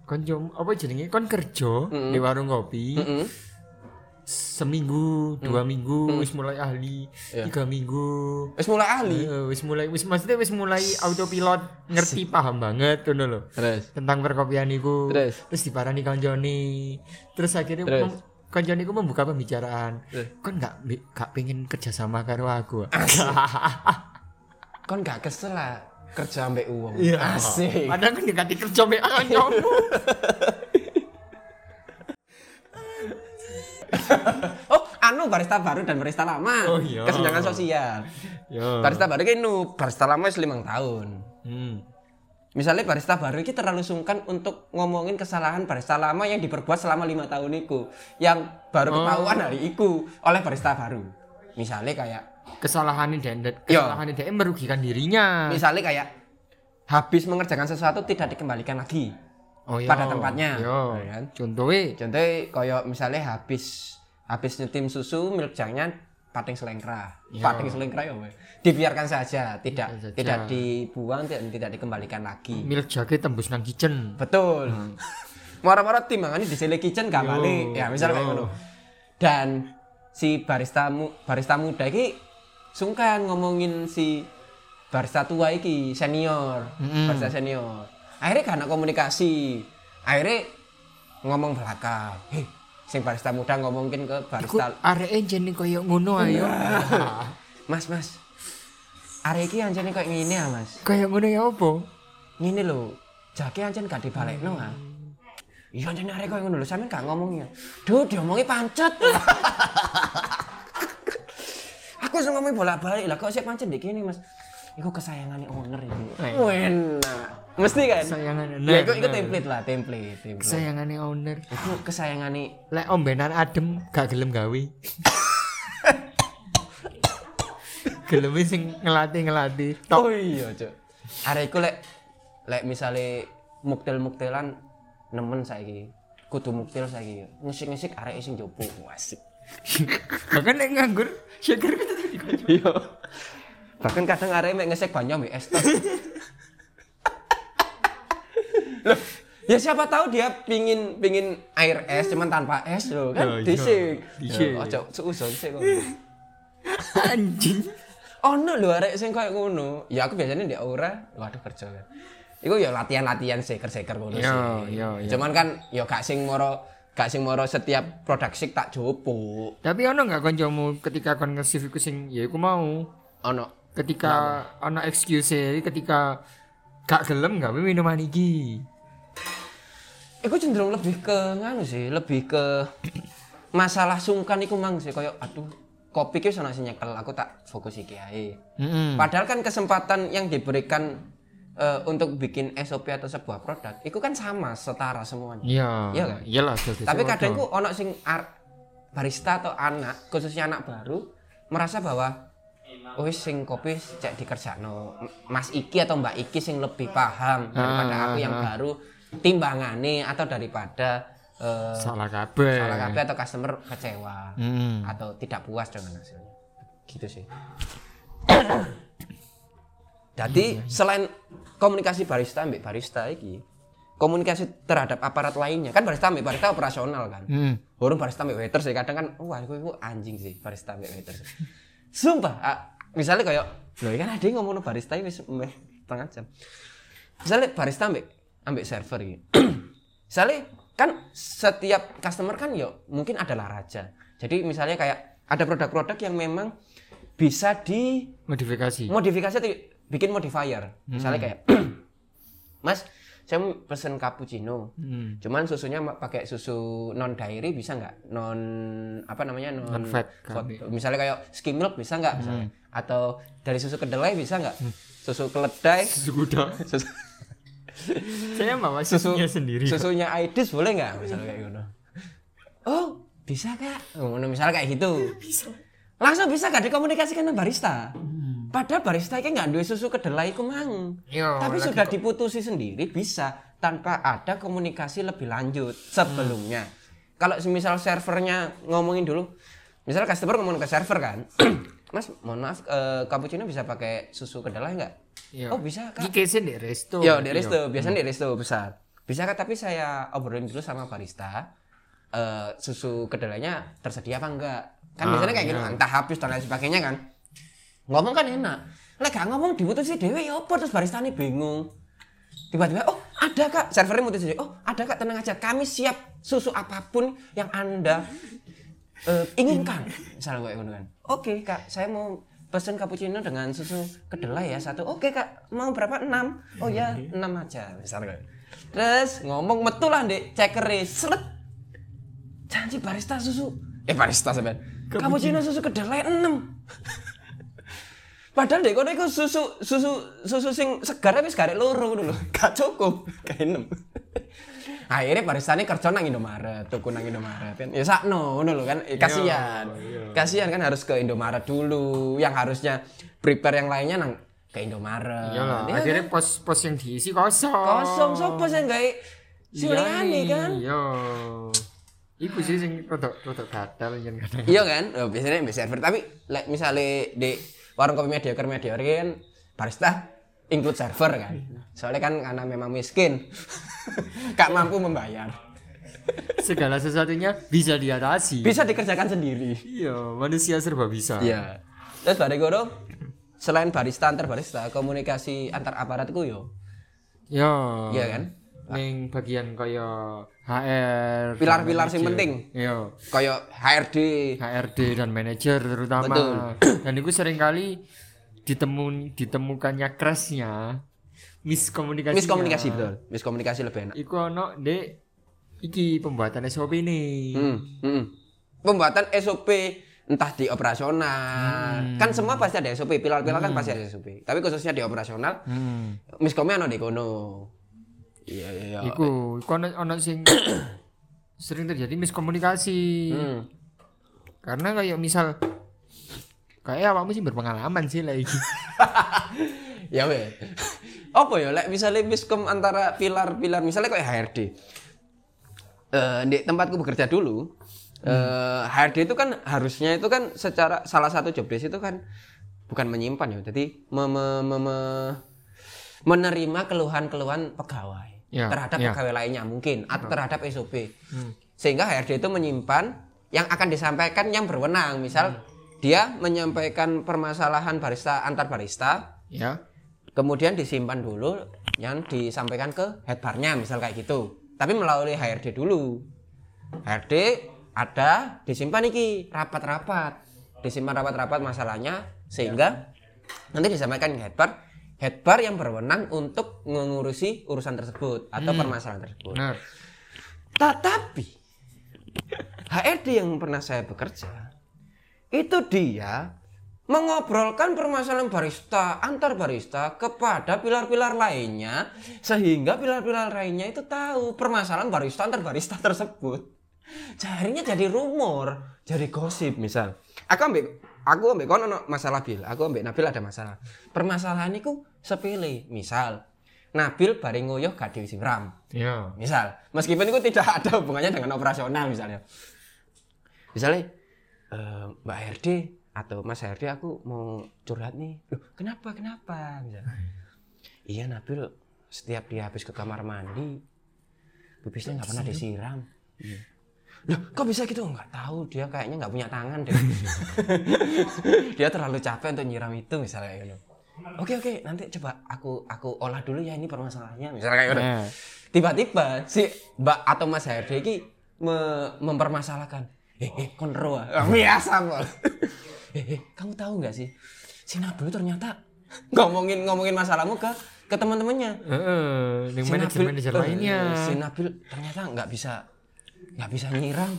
[SPEAKER 4] Kon jom- apa jenenge kon kerja di warung kopi. Seminggu,
[SPEAKER 3] Mm.
[SPEAKER 4] dua minggu wis mulai ahli,
[SPEAKER 3] Iya.
[SPEAKER 4] tiga minggu.
[SPEAKER 3] Wis mulai ahli.
[SPEAKER 4] Eh, wis mulai wis maksudnya wis mulai autopilot ngerti paham banget ngono lho.
[SPEAKER 3] Terus.
[SPEAKER 4] Tentang perkopian iku.
[SPEAKER 3] Terus?
[SPEAKER 4] diparani kanjoni. Terus akhirnya
[SPEAKER 3] Terus?
[SPEAKER 4] mem- kanjoni ku membuka pembicaraan. Kon gak bi- gak pengen kerja sama karo aku.
[SPEAKER 3] kon gak kesel lah kerja ambek uang
[SPEAKER 4] Asik.
[SPEAKER 3] asik
[SPEAKER 4] Padahal kan gak dikerja mek kancamu.
[SPEAKER 3] oh anu barista baru dan barista lama
[SPEAKER 4] Oh, iya.
[SPEAKER 3] kesenjangan sosial
[SPEAKER 4] Yo.
[SPEAKER 3] barista baru kan nu barista lama wis limang tahun
[SPEAKER 4] Hmm.
[SPEAKER 3] misalnya barista baru ini terlalu sungkan untuk ngomongin kesalahan barista lama yang diperbuat selama lima tahun itu yang baru
[SPEAKER 4] Oh.
[SPEAKER 3] ketahuan hari itu oleh barista baru misalnya kayak
[SPEAKER 4] Kesalahan ini dan
[SPEAKER 3] Yo.
[SPEAKER 4] kesalahan ini merugikan dirinya.
[SPEAKER 3] misalnya kayak habis mengerjakan sesuatu tidak dikembalikan lagi
[SPEAKER 4] Oh, yo.
[SPEAKER 3] pada tempatnya.
[SPEAKER 4] Yo.
[SPEAKER 3] Ya kan?
[SPEAKER 4] Contohnya
[SPEAKER 3] Contohnya koyo misalnya habis habis nyetim susu milk jangnya pating selengkra.
[SPEAKER 4] Iya.
[SPEAKER 3] Pating selengkra ya, weh. Dibiarkan saja, tidak
[SPEAKER 4] Biarkan saja.
[SPEAKER 3] tidak dibuang dan tidak dikembalikan lagi.
[SPEAKER 4] milk jahe tembus nang kitchen.
[SPEAKER 3] Betul. Moro-moro timbangannya di sele kitchen gak
[SPEAKER 4] Hmm. Yo.
[SPEAKER 3] balik. Ya, misalnya kayak
[SPEAKER 4] Yo.
[SPEAKER 3] ngono. Dan si barista mu, barista muda iki sungkan ngomongin si barista tua iki senior,
[SPEAKER 4] Mm-mm.
[SPEAKER 3] barista senior. Akhirnya karena komunikasi, akhirnya ngomong belakang. Heh, sing barista muda ngomongin ke
[SPEAKER 4] Iku
[SPEAKER 3] barista
[SPEAKER 4] areke jenenge koyo ngono ayo.
[SPEAKER 3] Iya. Mas, Mas. Arek iki anjene kayak ngene ya, Mas.
[SPEAKER 4] Kayak ngono ya apa?
[SPEAKER 3] ngene lho, jake ancen gak dibalekno ah. Iya ancen arek koyo ngono lho, sampean gak ngomongnya. Duh, diomongi pancet. Aku sing ngomongin bolak-balik lah, kok sik pancet ndek kene, Mas. Iku kesayangane owner iki.
[SPEAKER 4] Eh.
[SPEAKER 3] Oh, Enak. Mesti kan?
[SPEAKER 4] Kesayangane,
[SPEAKER 3] Ya
[SPEAKER 4] bener,
[SPEAKER 3] iku iku
[SPEAKER 4] bener.
[SPEAKER 3] template lah, template, template.
[SPEAKER 4] Sayangane owner.
[SPEAKER 3] Iku kesayangane
[SPEAKER 4] Lek ombenan adem gak gelem gawe. gelem sing ngelatih-ngelatih. Tok
[SPEAKER 3] Oh iya, Cuk. Arek iku lek lek misale muktil-muktilan nemen saiki. Kudu muktil saiki. Ngisik-ngisik arek sing jopo. Asik.
[SPEAKER 4] Bahkan nek kan nganggur shaker kita tadi kocok.
[SPEAKER 3] Iya. Bahkan kadang arek mek ngesek banyak mek es tok. Loh, ya siapa tahu dia pingin pingin air es cuman tanpa es loh
[SPEAKER 4] Ya,
[SPEAKER 3] kan
[SPEAKER 4] iya.
[SPEAKER 3] disik.
[SPEAKER 4] Disik.
[SPEAKER 3] Ya, Ojo suuson sik kok.
[SPEAKER 4] Anjing.
[SPEAKER 3] Ono lho arek sing koyo ngono. Ya aku biasanya di aura, waduh kerja kan. Iku ya latihan-latihan seker-seker ngono
[SPEAKER 4] Iya, iya, iya.
[SPEAKER 3] Cuman kan ya gak sing moro gak sing moro setiap produk sik tak jopo.
[SPEAKER 4] Tapi ono nggak koncomu ketika kon nge-shift iku sing ya iku mau
[SPEAKER 3] Ono
[SPEAKER 4] ketika ono excuse ketika gak gelem gak weh minuman iki.
[SPEAKER 3] Iku cenderung lebih ke nganu sih, lebih ke masalah sungkan iku mang sih kayak aduh kopi ki sono sing nyekel aku tak fokus iki ae.
[SPEAKER 4] Heeh.
[SPEAKER 3] Padahal kan kesempatan yang diberikan eh, untuk bikin SOP atau sebuah produk itu kan sama setara semuanya.
[SPEAKER 4] Iya.
[SPEAKER 3] Iya kan?
[SPEAKER 4] Iyalah. Jogja
[SPEAKER 3] Tapi
[SPEAKER 4] Sewodo.
[SPEAKER 3] kadang ku ono sing ar- barista atau anak, khususnya anak baru merasa bahwa oh sing kopi cek dikerjano Mas Iki atau Mbak Iki sing lebih paham daripada aku yang baru timbangane atau daripada eh,
[SPEAKER 4] salah kabeh.
[SPEAKER 3] salah kabeh atau customer kecewa
[SPEAKER 4] Heeh.
[SPEAKER 3] atau tidak puas dengan hasilnya gitu sih jadi selain komunikasi barista ambek barista iki komunikasi terhadap aparat lainnya kan barista ambek barista operasional kan
[SPEAKER 4] Heeh.
[SPEAKER 3] Burung barista mbek waiter sih kadang kan wah aku iku anjing sih barista mbek waiter. Sumpah, ah, misalnya kayak lho kan ada yang ngomong barista ini wis meh setengah jam. Misalnya barista mbek ambek server gitu. misalnya kan setiap customer kan yo mungkin adalah raja. Jadi misalnya kayak ada produk-produk yang memang bisa di
[SPEAKER 4] Modifikasi.
[SPEAKER 3] modifikasi atau bikin modifier. Misalnya kayak Mas, saya mau pesen cappuccino.
[SPEAKER 4] Hmm.
[SPEAKER 3] Cuman susunya ma- pakai susu non dairy bisa nggak? Non apa namanya? Non,
[SPEAKER 4] Non-fat,
[SPEAKER 3] fat. kan? Hmm.
[SPEAKER 4] kami.
[SPEAKER 3] Misalnya kayak skim milk bisa nggak misalnya? Atau dari susu kedelai bisa nggak? Susu keledai,
[SPEAKER 4] Sudah.
[SPEAKER 3] susu,
[SPEAKER 4] Saya bawa
[SPEAKER 3] susu
[SPEAKER 4] susunya sendiri.
[SPEAKER 3] Susunya Aidis boleh nggak misalnya kayak gitu? Oh, bisa kak? Oh, misalnya kayak gitu. Bisa. Langsung bisa gak dikomunikasikan sama barista.
[SPEAKER 4] Hmm.
[SPEAKER 3] Padahal barista ini nggak duwe susu kedelai ku mang.
[SPEAKER 4] Yo, Iya,
[SPEAKER 3] Tapi
[SPEAKER 4] lagi
[SPEAKER 3] sudah diputusi sendiri bisa tanpa ada komunikasi lebih lanjut sebelumnya.
[SPEAKER 4] Hmm.
[SPEAKER 3] Kalau semisal servernya ngomongin dulu, misal customer ngomong ke server kan, Mas, mohon maaf, eh, cappuccino bisa pakai susu kedelai nggak?
[SPEAKER 4] Iya.
[SPEAKER 3] Oh bisa kak.
[SPEAKER 4] Iki case di resto. Iya.
[SPEAKER 3] Yo, di Iya, resto, biasanya di resto besar. Bisa kan tapi saya obrolin dulu sama barista. eh, susu kedelainya tersedia apa enggak? Kan biasanya kayak gitu kan, entah habis dan lain sebagainya kan. Ngomong kan enak. Lah gak ngomong diputusi dhewe ya apa terus barista ini bingung. Tiba-tiba oh ada kak servernya mutus dhewe. Oh ada kak tenang aja kami siap susu apapun yang anda eh, inginkan misalnya kayak gitu kan oke kak saya mau pesen cappuccino dengan susu kedelai ya satu oke kak mau berapa enam oh ya enam aja misalnya kayak gitu. terus ngomong metu lah dek cekere seret janji barista susu eh barista sampean cappuccino susu kedelai enam Padahal dek kono iku susu susu susu sing segar wis garek loro ngono lho. Gak cukup, gak enem. Akhirnya baristane kerja nang Indomaret, tuku nang Indomaret kan. Ya sakno ngono lho kan. Eh, kasihan. Kasihan kan harus ke Indomaret dulu yang harusnya prepare yang lainnya nang ke Indomaret.
[SPEAKER 4] Iyalah,
[SPEAKER 3] Ya,
[SPEAKER 4] akhirnya pos-pos yang diisi kosong.
[SPEAKER 3] kosong sopo sing gawe silingane kan.
[SPEAKER 4] Iya. Iku sih sing rodok rodok gatel yen kadang.
[SPEAKER 3] Iya kan? Eh, biasanya ambil server tapi like, misalnya di warung kopi mediocre mediocre kan barista include server kan. Soalnya kan karena memang miskin. Gak mampu membayar.
[SPEAKER 4] Segala sesuatunya bisa diatasi.
[SPEAKER 3] Bisa dikerjakan sendiri.
[SPEAKER 4] Iya, manusia serba bisa.
[SPEAKER 3] Iya. Terus bare goro selain barista antar barista, komunikasi antar aparatku yo.
[SPEAKER 4] Iya.
[SPEAKER 3] Iya kan?
[SPEAKER 4] Ning bagian kaya HR,
[SPEAKER 3] Pilar-pilar
[SPEAKER 4] dan
[SPEAKER 3] sing
[SPEAKER 4] manajer.
[SPEAKER 3] penting.
[SPEAKER 4] Iya.
[SPEAKER 3] Kayak HRD.
[SPEAKER 4] HRD dan manajer terutama.
[SPEAKER 3] Betul.
[SPEAKER 4] Dan itu seringkali ditemun ditemukannya crashnya miskomunikasi.
[SPEAKER 3] Miskomunikasi betul. Miskomunikasi lebih enak.
[SPEAKER 4] Iku ono dek iki pembuatan SOP ini.
[SPEAKER 3] Hmm, hmm. Pembuatan SOP entah di operasional. Kan semua pasti ada SOP, pilar-pilar kan pasti ada SOP. Tapi khususnya di operasional,
[SPEAKER 4] Hmm.
[SPEAKER 3] miskomnya ono di kono. Iya, iya, iya.
[SPEAKER 4] Iku, iku ono, ono sing sering terjadi miskomunikasi.
[SPEAKER 3] Hmm.
[SPEAKER 4] Karena kayak misal kayak awakmu sih berpengalaman sih lah iki.
[SPEAKER 3] Ya weh. Apa ya lek misalnya miskom antara pilar-pilar misalnya kayak HRD. Eh di tempatku bekerja dulu, Eh, HRD itu kan harusnya itu kan secara salah satu job desk itu kan bukan menyimpan ya, jadi me- me- me- me- menerima keluhan-keluhan pegawai
[SPEAKER 4] Ya,
[SPEAKER 3] terhadap
[SPEAKER 4] ya. Hmm.
[SPEAKER 3] pegawai lainnya mungkin atau terhadap SOP. Sehingga HRD itu menyimpan yang akan disampaikan yang berwenang,
[SPEAKER 4] Hmm.
[SPEAKER 3] misal dia menyampaikan permasalahan barista antar barista,
[SPEAKER 4] ya
[SPEAKER 3] kemudian disimpan dulu yang disampaikan ke head bar-nya, misal kayak gitu tapi melalui HRD dulu HRD ada disimpan iki rapat-rapat disimpan rapat-rapat masalahnya sehingga nanti disampaikan ke head bar head bar yang berwenang untuk mengurusi urusan tersebut atau permasalahan tersebut
[SPEAKER 4] benar
[SPEAKER 3] tetapi HRD E yang pernah saya bekerja itu dia mengobrolkan permasalahan barista antar barista kepada pilar-pilar lainnya sehingga pilar-pilar lainnya itu tahu permasalahan barista antar barista tersebut. Jarinya jadi rumor, jadi gosip misal. Aku ambek aku ambek kono ono masalah Bil, aku ambek Nabil ada masalah. Permasalahan itu sepele, misal Nabil bareng ngoyoh gak disiram.
[SPEAKER 4] ya
[SPEAKER 3] Misal, meskipun itu tidak ada hubungannya dengan operasional misalnya. Misalnya, eh, Mbak HRD atau Mas HRD aku mau curhat nih. Loh, kenapa, kenapa? Misalnya. Iya Nabil, setiap dia habis ke kamar mandi, bibisnya nggak pernah disiram. Loh, kok bisa gitu? Nggak tahu, dia kayaknya nggak punya tangan deh. dia terlalu capek untuk nyiram itu misalnya. gitu. Oke oke, nanti coba aku aku olah dulu ya ini permasalahannya misalnya kayak gitu
[SPEAKER 4] Nah,
[SPEAKER 3] tiba-tiba si Mbak atau Mas HRD ini me- mempermasalahkan eh eh konro ah." biasa Bol. eh eh kamu tahu nggak sih si Nabil ternyata ngomongin ngomongin masalahmu ke ke teman-temannya
[SPEAKER 4] Heeh, dengan manajer manajer
[SPEAKER 3] eh,
[SPEAKER 4] lainnya
[SPEAKER 3] si Nabil ternyata nggak bisa nggak bisa nyiram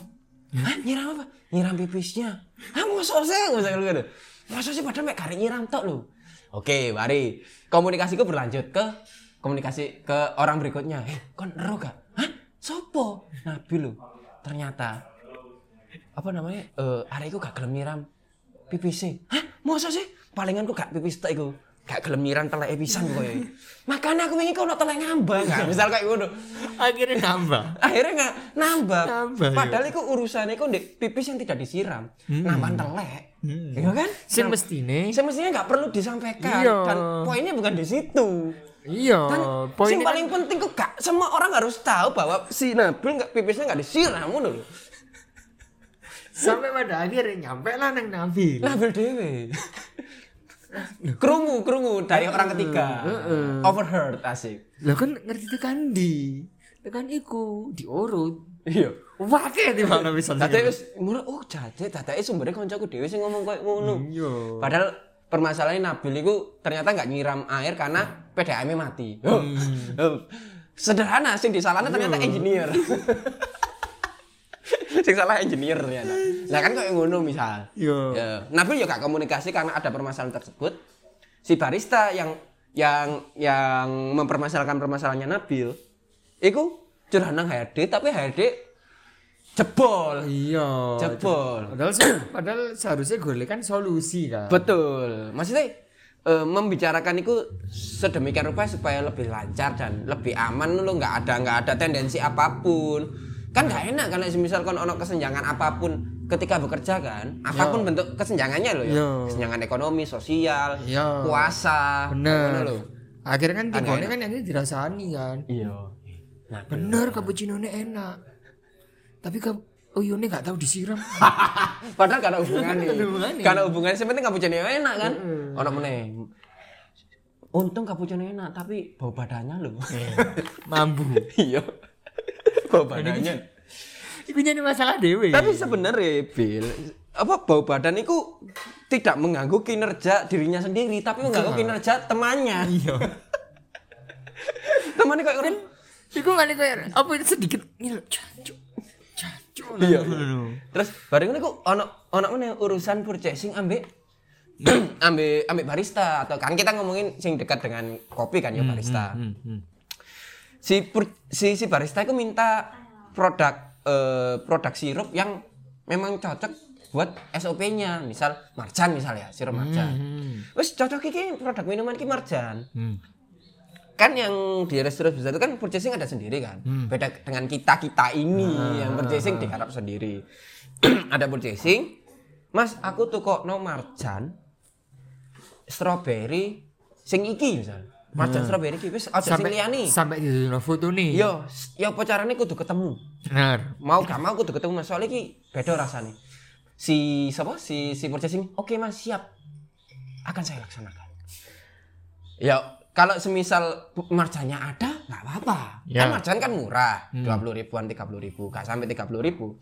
[SPEAKER 3] Hah, nyiram apa nyiram pipisnya ah masa sih masa lu gitu masa sih padahal mek karek nyiram tok lu oke mari komunikasiku berlanjut ke komunikasi ke orang berikutnya eh kon ero gak hah sopo Nabil lu ternyata apa namanya eh hari iku gak gelem nyiram e. PPC hah masa sih palingan ku gak pipis tok iku gak gelem nyiram telek pisan kowe makanya aku ingin kau nak telek ngambang gak misal kayak ngono
[SPEAKER 4] akhirnya nambah
[SPEAKER 3] akhirnya nggak nambah
[SPEAKER 4] Nambah, ya. Hmm.
[SPEAKER 3] padahal itu urusannya kok ndek pipis yang tidak disiram nambah telek iya kan
[SPEAKER 4] sih mestine
[SPEAKER 3] semestinya nggak perlu disampaikan
[SPEAKER 4] Iya.
[SPEAKER 3] dan poinnya bukan di situ
[SPEAKER 4] iya
[SPEAKER 3] kan
[SPEAKER 4] poin
[SPEAKER 3] yang paling penting kok gak semua orang harus tahu bahwa si Nabil nggak pipisnya nggak disiram ngono lho
[SPEAKER 4] sampai pada akhirnya nyampe lah nang nabi
[SPEAKER 3] Nabil dewe. kerungu kerungu dari orang ketiga. Overheard asik.
[SPEAKER 4] lah kan ngerti tekan di tekan iku diurut
[SPEAKER 3] Iya.
[SPEAKER 4] wah kayak di mana bisa
[SPEAKER 3] Tadi wis mulu oh jajak dadake sumbere kancaku dhewe sing ngomong koyo ngono.
[SPEAKER 4] Iya.
[SPEAKER 3] Padahal permasalahan Nabil itu ternyata nggak nyiram air karena PDAM -nya mati. Hmm. Sederhana sing disalahnya ternyata engineer. Hmm. sing salah engineer ternyata. Lah kan koyo ngono misal.
[SPEAKER 4] Iya.
[SPEAKER 3] Ya, Nabil juga komunikasi karena ada permasalahan tersebut. Si barista yang yang yang mempermasalahkan permasalahannya Nabil, itu curhat nang HRD tapi HRD jebol,
[SPEAKER 4] iya
[SPEAKER 3] jebol.
[SPEAKER 4] padahal se- padahal seharusnya gue kan solusi kan
[SPEAKER 3] Betul. Maksudnya eh, membicarakan itu sedemikian rupa supaya lebih lancar dan lebih aman lo nggak ada nggak ada tendensi apapun. Kan nggak enak kalau misal kon ono kesenjangan apapun ketika bekerja kan.
[SPEAKER 4] Iya.
[SPEAKER 3] Apapun bentuk kesenjangannya lo ya.
[SPEAKER 4] Yo.
[SPEAKER 3] Kesenjangan ekonomi, sosial,
[SPEAKER 4] Yo.
[SPEAKER 3] kuasa. ngono
[SPEAKER 4] Iya. bener
[SPEAKER 3] lho.
[SPEAKER 4] akhirnya kan
[SPEAKER 3] Agak
[SPEAKER 4] tinggalnya
[SPEAKER 3] enak.
[SPEAKER 4] kan nanti dirasani kan
[SPEAKER 3] Iya. Nah,
[SPEAKER 4] bener cappuccino enak tapi ke uyunnya nggak tahu disiram
[SPEAKER 3] Padahal karena hubungannya.
[SPEAKER 4] Ada hubungannya.
[SPEAKER 3] karena hubungannya sebenarnya cappuccino enak kan. Ono meneh. Untung cappuccino enak tapi bau badannya lo.
[SPEAKER 4] Iya. mambu
[SPEAKER 3] iya bau badannya
[SPEAKER 4] itu jadi masalah dewe
[SPEAKER 3] tapi sebenarnya Bill apa bau badan itu tidak mengganggu kinerja dirinya sendiri tapi mengganggu kinerja temannya
[SPEAKER 4] iya
[SPEAKER 3] temannya kayak orang
[SPEAKER 4] Iku malah kayak apa itu sedikit ngil cacu cacu
[SPEAKER 3] Iya, terus bareng itu ono ono mana urusan purchasing ambek ambek ambek barista atau kan kita ngomongin sing dekat dengan kopi kan ya barista si pur- si si barista itu minta produk eh, produk sirup yang memang cocok buat SOP-nya misal marjan misalnya sirup marjan wes cocok iki produk minuman ki marjan Kayak kan yang di resto besar itu kan purchasing ada sendiri kan beda dengan kita kita ini yang purchasing diharap sendiri ada purchasing mas aku tuh kok no marjan strawberry sing iki misal marjan strawberry iki wis aja sing
[SPEAKER 4] sampai
[SPEAKER 3] liyane
[SPEAKER 4] sampai di foto nih
[SPEAKER 3] yo s- yo apa carane kudu ketemu
[SPEAKER 4] benar
[SPEAKER 3] mau gak mau kudu ketemu mas soalnya iki beda rasanya si siapa si si purchasing oke mas siap akan saya laksanakan ya kalau semisal bu- marjanya ada nggak apa-apa
[SPEAKER 4] Ya.
[SPEAKER 3] kan marjan kan murah dua ribuan tiga puluh ribu gak sampai tiga puluh ribu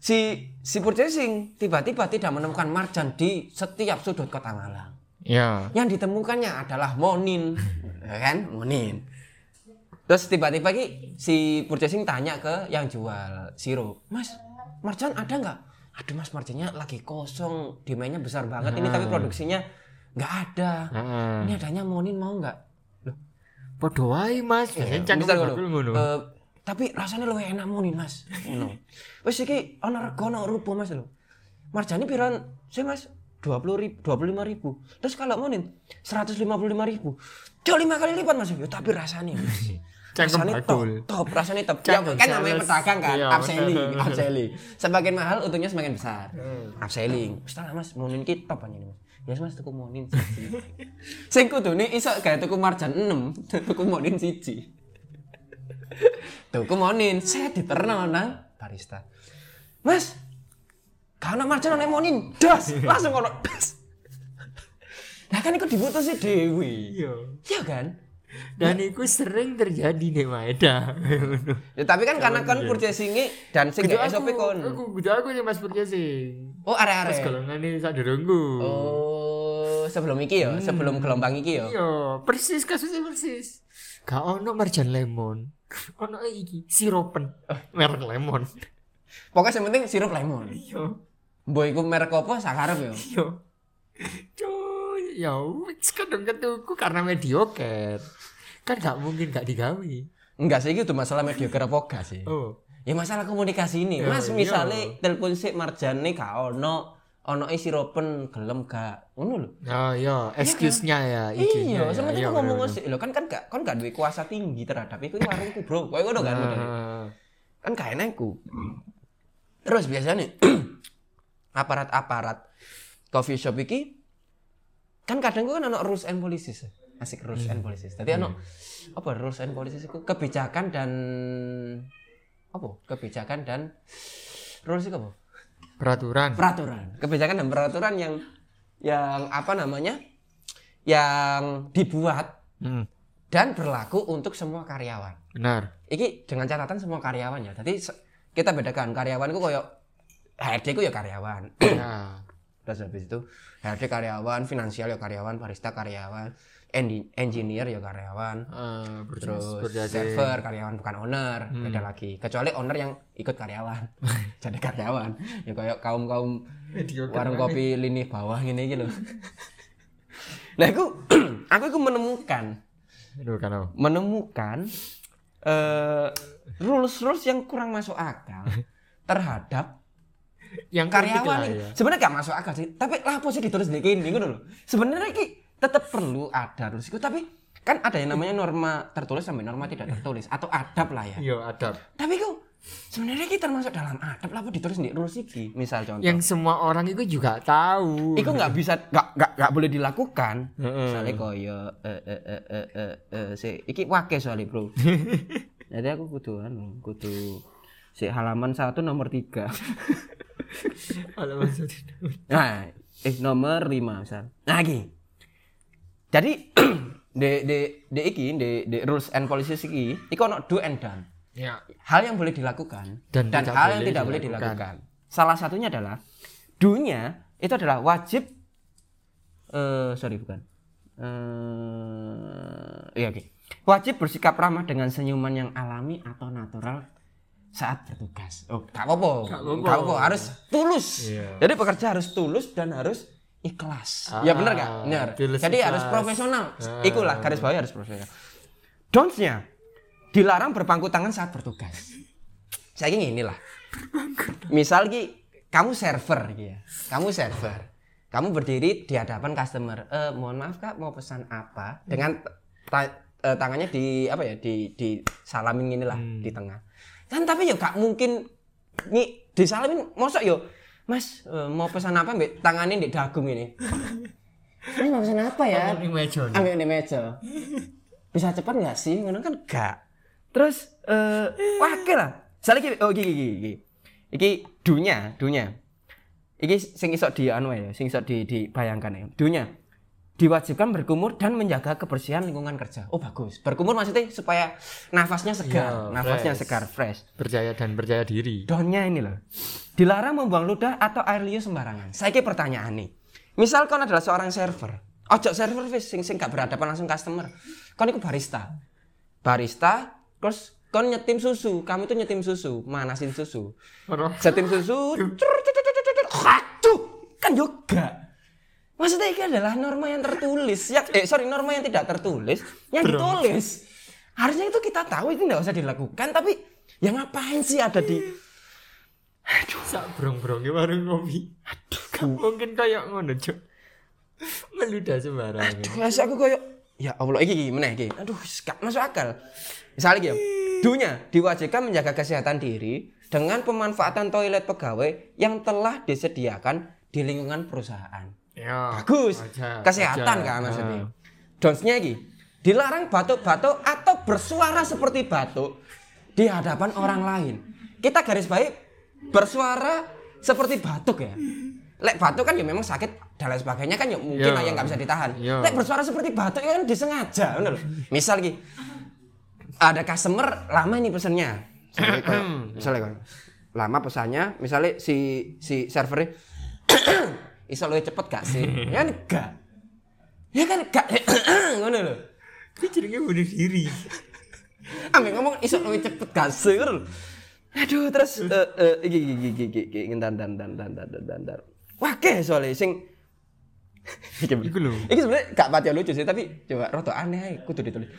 [SPEAKER 3] si si purchasing tiba-tiba tidak menemukan marjan di setiap sudut kota Malang
[SPEAKER 4] ya
[SPEAKER 3] yang ditemukannya adalah Monin Ya kan Monin terus tiba-tiba ki si purchasing tanya ke yang jual sirup mas marjan ada nggak aduh mas marjannya lagi kosong demandnya besar banget ini tapi produksinya nggak ada
[SPEAKER 4] Heeh.
[SPEAKER 3] ini adanya Monin mau nggak
[SPEAKER 4] podo wae mas biasanya
[SPEAKER 3] Ya,
[SPEAKER 4] cangkem
[SPEAKER 3] misal
[SPEAKER 4] bakul
[SPEAKER 3] ngono.
[SPEAKER 4] ngono
[SPEAKER 3] Eh, tapi rasanya lebih enak Monin mas no. wes iki ana rego ana rupa mas lho marjani piran sih mas dua puluh ribu dua ribu terus kalau Monin seratus lima puluh lima ribu jauh lima kali lipat mas Yo, tapi rasanya mas.
[SPEAKER 4] Cangkem
[SPEAKER 3] rasanya top,
[SPEAKER 4] bakul.
[SPEAKER 3] top rasanya top ya,
[SPEAKER 4] Cangkem
[SPEAKER 3] kan namanya
[SPEAKER 4] sales.
[SPEAKER 3] pedagang kan
[SPEAKER 4] Iya,
[SPEAKER 3] upselling
[SPEAKER 4] bener.
[SPEAKER 3] upselling semakin mahal untungnya semakin besar
[SPEAKER 4] Hmm.
[SPEAKER 3] upselling setelah mas Monin ki top anjing mas Yes mas tuku monin siji. Sing kudune iso gawe tuku marjan 6, tuku monin siji. Tuku monin, saya diterno nang barista. Mas, karena marjan nang monin, das, langsung kono das. Nah kan iku diputusi Dewi.
[SPEAKER 4] iya
[SPEAKER 3] Iya kan?
[SPEAKER 4] dan itu sering terjadi nih Maeda
[SPEAKER 3] Ya, tapi kan karena kon purchasingnya dan sing
[SPEAKER 4] iya. Gitu
[SPEAKER 3] gak SOP kon.
[SPEAKER 4] aku gitu aku nih mas Purja sih
[SPEAKER 3] Oh
[SPEAKER 4] pas
[SPEAKER 3] are-are.
[SPEAKER 4] golongan ini sak dorongku
[SPEAKER 3] Oh, sebelum iki
[SPEAKER 4] Hmm.
[SPEAKER 3] ya, sebelum gelombang iki ya.
[SPEAKER 4] iya persis kasusnya persis gak ono marjan lemon ono iki siropen
[SPEAKER 3] Eh.
[SPEAKER 4] merek lemon
[SPEAKER 3] Pokoknya yang penting sirup lemon.
[SPEAKER 4] iya
[SPEAKER 3] Boy, iku merek apa sakarep ya?
[SPEAKER 4] iya cuy ya wis kadang ketuku karena medioker kan gak mungkin gak digawe
[SPEAKER 3] Enggak sih, itu masalah mediocre apa enggak sih?
[SPEAKER 4] oh
[SPEAKER 3] Ya masalah komunikasi ini. Mas,
[SPEAKER 4] iya.
[SPEAKER 3] misalnya telepon sik marjane gak ono, ono isi ropen gelem gak. Ngono lho.
[SPEAKER 4] oh iya excuse-nya ya ikinya
[SPEAKER 3] Iya,
[SPEAKER 4] ya,
[SPEAKER 3] sementara
[SPEAKER 4] iya,
[SPEAKER 3] aku ngomong
[SPEAKER 4] bener-bener.
[SPEAKER 3] sik lho kan kan gak kon gak duwe kuasa tinggi terhadap iku ini warungku, Bro. Kowe ngono kan modelnya.
[SPEAKER 4] Ah,
[SPEAKER 3] Kan gak enakku. Terus biasanya aparat-aparat coffee shop iki kan kadang kan ono rules and policies asik rules and policies tadi ono apa rules and policies itu kebijakan dan apa kebijakan dan rules itu apa
[SPEAKER 4] peraturan
[SPEAKER 3] peraturan kebijakan dan peraturan yang yang apa namanya yang dibuat
[SPEAKER 4] Hmm,
[SPEAKER 3] dan berlaku untuk semua karyawan
[SPEAKER 4] benar
[SPEAKER 3] iki dengan catatan semua karyawan ya jadi se- kita bedakan karyawan ku koyo HRD ku ya karyawan
[SPEAKER 4] ya
[SPEAKER 3] Terus habis itu HRD karyawan, finansial ya karyawan, barista karyawan, endi- engineer ya karyawan,
[SPEAKER 4] ah, Purja-
[SPEAKER 3] terus
[SPEAKER 4] Purja sih.
[SPEAKER 3] server karyawan bukan owner, beda lagi. Kecuali owner yang ikut karyawan. Jadi karyawan. Ya kayak kaum-kaum
[SPEAKER 4] Medioker
[SPEAKER 3] warung
[SPEAKER 4] banget.
[SPEAKER 3] kopi lini bawah ngene iki lho. Nah, aku aku iku menemukan
[SPEAKER 4] Aduh, kan oh.
[SPEAKER 3] menemukan eh rules rules yang kurang masuk akal terhadap
[SPEAKER 4] yang
[SPEAKER 3] karyawan
[SPEAKER 4] kritik
[SPEAKER 3] nih.
[SPEAKER 4] lah ya.
[SPEAKER 3] Sebenarnya gak masuk akal sih, tapi lah apa sih ditulis di kini ngono lho. Sebenarnya iki tetap perlu ada rules iku, tapi kan ada yang namanya norma tertulis sampai norma tidak tertulis atau adab lah ya.
[SPEAKER 4] Iya, adab.
[SPEAKER 3] Tapi kok sebenarnya kita termasuk dalam adab lah apa ditulis di rules iki. Misal contoh,
[SPEAKER 4] Yang semua orang itu juga tahu.
[SPEAKER 3] iku nggak bisa nggak nggak nggak boleh dilakukan.
[SPEAKER 4] Heeh.
[SPEAKER 3] Misalnya koyo eh eh eh eh eh eh si- iki wake soalnya bro. Jadi aku kudu anu, kudu si halaman satu nomor tiga.
[SPEAKER 4] Kalau maksudnya.
[SPEAKER 3] Nah, eh nomor 5 misal. Nah, iki. Jadi de de de iki de, de rules and policies iki, iku ono do and done.
[SPEAKER 4] Ya.
[SPEAKER 3] Hal yang boleh dilakukan
[SPEAKER 4] Dan
[SPEAKER 3] dan,
[SPEAKER 4] tidak
[SPEAKER 3] hal yang
[SPEAKER 4] boleh
[SPEAKER 3] tidak boleh
[SPEAKER 4] dilakukan.
[SPEAKER 3] dilakukan. Salah satunya adalah do-nya itu adalah wajib eh sorry bukan. Eh iya oke. Wajib bersikap ramah dengan senyuman yang alami atau natural saat bertugas. Oh, gak apa-apa.
[SPEAKER 4] Gak apa-apa.
[SPEAKER 3] Gak apa-apa, harus tulus.
[SPEAKER 4] Iya.
[SPEAKER 3] Jadi pekerja harus tulus dan harus ikhlas. ya benar gak?
[SPEAKER 4] Ah,
[SPEAKER 3] Benar.
[SPEAKER 4] tulus,
[SPEAKER 3] Jadi
[SPEAKER 4] ikhlas.
[SPEAKER 3] harus profesional. Ikulah garis bawah harus profesional. Don'ts-nya dilarang berpangku tangan saat bertugas. Saya ingin inilah. Misal ki kamu server gitu ya. Kamu server. Kamu berdiri di hadapan customer. Eh, mohon maaf Kak, mau pesan apa? Dengan ta- eh, tangannya di apa ya di di salamin inilah di tengah kan tapi ya gak mungkin nih disalamin mosok yo Mas eh, mau pesan apa mbak tangannya di dagu ini ini mau pesan apa ya
[SPEAKER 4] Ini meja nih.
[SPEAKER 3] ambil di meja bisa cepat nggak sih ngono kan gak terus eh wah oke lah salah iki oh iki iki iki iki dunya dunya iki sing iso di anu ya sing iso di dibayangkan ya dunya diwajibkan berkumur dan menjaga kebersihan lingkungan kerja oh bagus berkumur maksudnya supaya nafasnya
[SPEAKER 4] Iya,
[SPEAKER 3] segar nafasnya
[SPEAKER 4] fresh.
[SPEAKER 3] segar fresh
[SPEAKER 4] Percaya dan percaya diri.
[SPEAKER 3] Donnya ini loh. Dilarang membuang ludah atau air liur sembarangan. Saya pertanyaan nih. Misal kau adalah seorang server. Ojo server wis sing sing gak berhadapan langsung customer. Kau niku barista. Barista terus kau nyetim susu. Kamu tuh nyetim susu, manasin susu.
[SPEAKER 4] Ora.
[SPEAKER 3] Setim susu. cur, cur, cur, cur, cur, cur. Aduh, kan juga. Maksudnya ini adalah norma yang tertulis, ya, eh sorry norma yang tidak tertulis, yang ditulis. Harusnya itu kita tahu itu nggak usah dilakukan, tapi ya ngapain sih ada di
[SPEAKER 4] Sak brong-brongnya warung ngopi. Aduh, gak mungkin kayak ngono, Cuk. Meludah sembarangan.
[SPEAKER 3] Masih aku koyo ya Allah iki iki meneh iki. Aduh, wis gak masuk akal. Misalnya iki, ya, dunia diwajibkan menjaga kesehatan diri dengan pemanfaatan toilet pegawai yang telah disediakan di lingkungan perusahaan.
[SPEAKER 4] Ya.
[SPEAKER 3] Bagus.
[SPEAKER 4] wajar,
[SPEAKER 3] Kesehatan
[SPEAKER 4] wajar.
[SPEAKER 3] kan maksudnya.
[SPEAKER 4] Nah.
[SPEAKER 3] Donsnya iki, dilarang batuk-batuk atau bersuara seperti batuk di hadapan orang lain. Kita garis baik bersuara seperti batuk ya. Lek batuk kan ya memang sakit dan lain sebagainya kan ya mungkin
[SPEAKER 4] Ya.
[SPEAKER 3] lah yang nggak bisa ditahan.
[SPEAKER 4] Ya.
[SPEAKER 3] Lek bersuara seperti batuk ya kan disengaja, bener. Misal iki, ada customer lama ini pesennya misalnya kayak- misalnya kayak, lama pesannya misalnya si si servernya iso lebih cepet gak sih ya kan gak ya kan gak ngono lho
[SPEAKER 4] Ini jadinya bunuh diri.
[SPEAKER 3] ambek ngomong iso lebih cepet gak sih ngono lho. aduh terus eh eh, iki iki iki iki iki ngendan dan dan dan dan dan dan dan wah ke soalnya sing iki
[SPEAKER 4] Iku lho.
[SPEAKER 3] Ini sebenarnya gak pati lucu sih, tapi coba roto aneh ae kudu ditulis.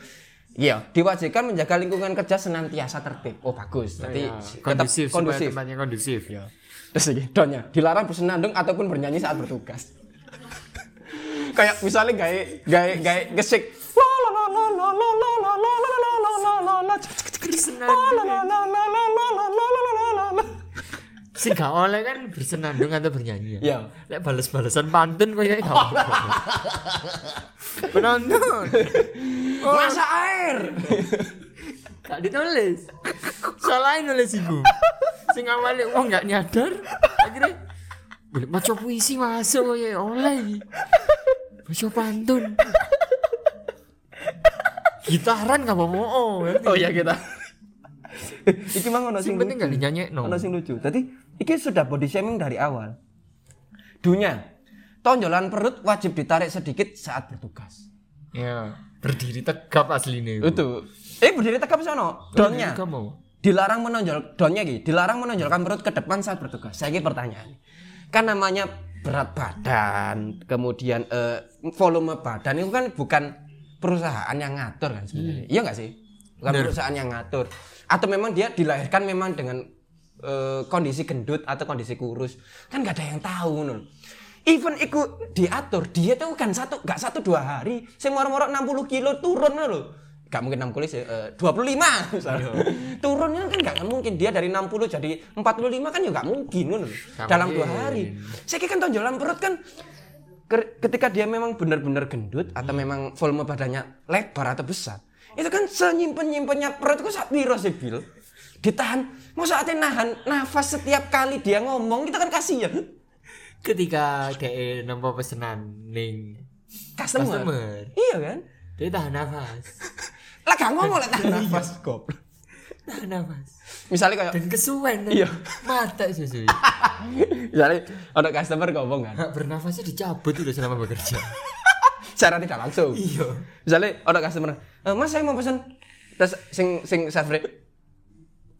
[SPEAKER 3] Iya, diwajibkan menjaga lingkungan kerja senantiasa tertib. Oh, bagus. Jadi tetap
[SPEAKER 4] Iya. Kondusif, supaya
[SPEAKER 3] kondusif. Iya.
[SPEAKER 4] tempatnya kondusif. Ya.
[SPEAKER 3] Terus iki donnya, dilarang bersenandung ataupun bernyanyi saat bertugas. Kayak misalnya gawe gawe gawe gesik. La la la la la la la la la la la la la la la la.
[SPEAKER 4] Bersenandung.
[SPEAKER 3] La la la la la la la la la la la la.
[SPEAKER 4] Sing gak oleh kan bersenandung atau bernyanyi.
[SPEAKER 3] Iya.
[SPEAKER 4] Ya. Lek bales-balesan pantun ya, kayaknya gak oleh. Penonton.
[SPEAKER 3] Masa air.
[SPEAKER 4] Gak ditulis. Salahin nulis ibu. Sing awalnya wong gak nyadar, akhirnya boleh maca puisi masuk kaya oleh iki. Maca pantun. Gitaran gak mau oh.
[SPEAKER 3] Oh iya kita. Iki mang ono
[SPEAKER 4] Sing
[SPEAKER 3] sing
[SPEAKER 4] penting gak dinyanyi no.
[SPEAKER 3] ono sing lucu. Tadi iki sudah body shaming dari awal. Dunia, tonjolan perut wajib ditarik sedikit saat bertugas.
[SPEAKER 4] Ya, berdiri tegap asline. iku.
[SPEAKER 3] Itu. Eh berdiri tegap sono.
[SPEAKER 4] Berdiri
[SPEAKER 3] Donnya.
[SPEAKER 4] tegap, mau.
[SPEAKER 3] Dilarang menonjol donnya iki, dilarang menonjolkan perut ke depan saat bertugas. Saya ini pertanyaan. Kan namanya berat badan, kemudian eh, volume badan itu kan bukan perusahaan yang ngatur kan sebenarnya. Iya nggak sih? Bukan perusahaan yang ngatur. Atau memang dia dilahirkan memang dengan eh, kondisi gendut atau kondisi kurus. Kan nggak ada yang tahu nul. Even iku diatur, dia tuh kan satu nggak satu dua hari, saya moro-moro 60 kilo turun loh. Gak mungkin 60 sih, eh, 25 misalnya. Turunnya kan gak mungkin dia dari 60 jadi 45 kan ya gak mungkin nul.
[SPEAKER 4] Gak
[SPEAKER 3] Dalam dua
[SPEAKER 4] mungkin.
[SPEAKER 3] hari. Saya kira kan tonjolan perut kan ker- ketika dia memang benar-benar gendut atau memang volume badannya lebar atau besar itu kan senyimpen nyimpennya perut itu sak piro sih bil ditahan mau saatnya nahan nafas setiap kali dia ngomong kita kan kasihan
[SPEAKER 4] Ketika dia nampak pesenan ning
[SPEAKER 3] customer,
[SPEAKER 4] customer,
[SPEAKER 3] iya kan
[SPEAKER 4] dia tahan nafas.
[SPEAKER 3] lah gak ngomong lah tahan nafas goblok
[SPEAKER 4] Tahan nafas.
[SPEAKER 3] misalnya kayak
[SPEAKER 4] Dan kesuwen.
[SPEAKER 3] Iya.
[SPEAKER 4] Mata susu.
[SPEAKER 3] misalnya ada customer ngomong kan
[SPEAKER 4] Hak bernafasnya dicabut udah selama bekerja.
[SPEAKER 3] secara tidak langsung
[SPEAKER 4] Iya.
[SPEAKER 3] misalnya ada customer "Eh, mas saya mau pesen terus sing sing server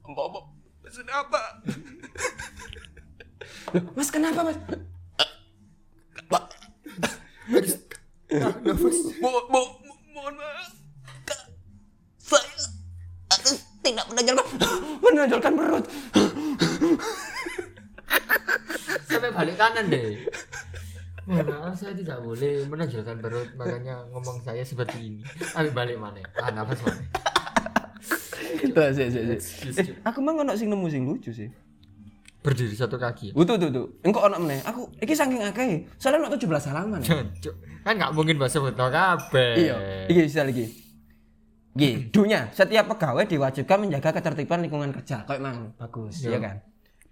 [SPEAKER 3] mau mau pesen apa Loh, mas kenapa mas pak
[SPEAKER 4] Harus tahan nafas.
[SPEAKER 3] mau mau mo- mohon maaf Kak, saya aku tidak menonjolkan menonjolkan perut
[SPEAKER 4] Sampai balik kanan deh. Mohon maaf saya tidak boleh menonjolkan perut makanya ngomong saya seperti ini. Ambil balik mana? Ah nafas mana?
[SPEAKER 3] Lah, sik, sik, sik.
[SPEAKER 4] Excuse
[SPEAKER 3] Eh, aku mah ono sing nemu sing lucu sih.
[SPEAKER 4] Berdiri satu kaki.
[SPEAKER 3] Wuh, tuh tuh tuh. Engko ono meneh. Aku iki saking akeh. Soalnya ono 17 halaman.
[SPEAKER 4] Jancuk. Kan nggak mungkin bahasa buta kabeh.
[SPEAKER 3] Iya, iki bisa lagi. Iki, dunia, setiap pegawai diwajibkan menjaga ketertiban lingkungan kerja. Kayak mang, bagus, ya kan?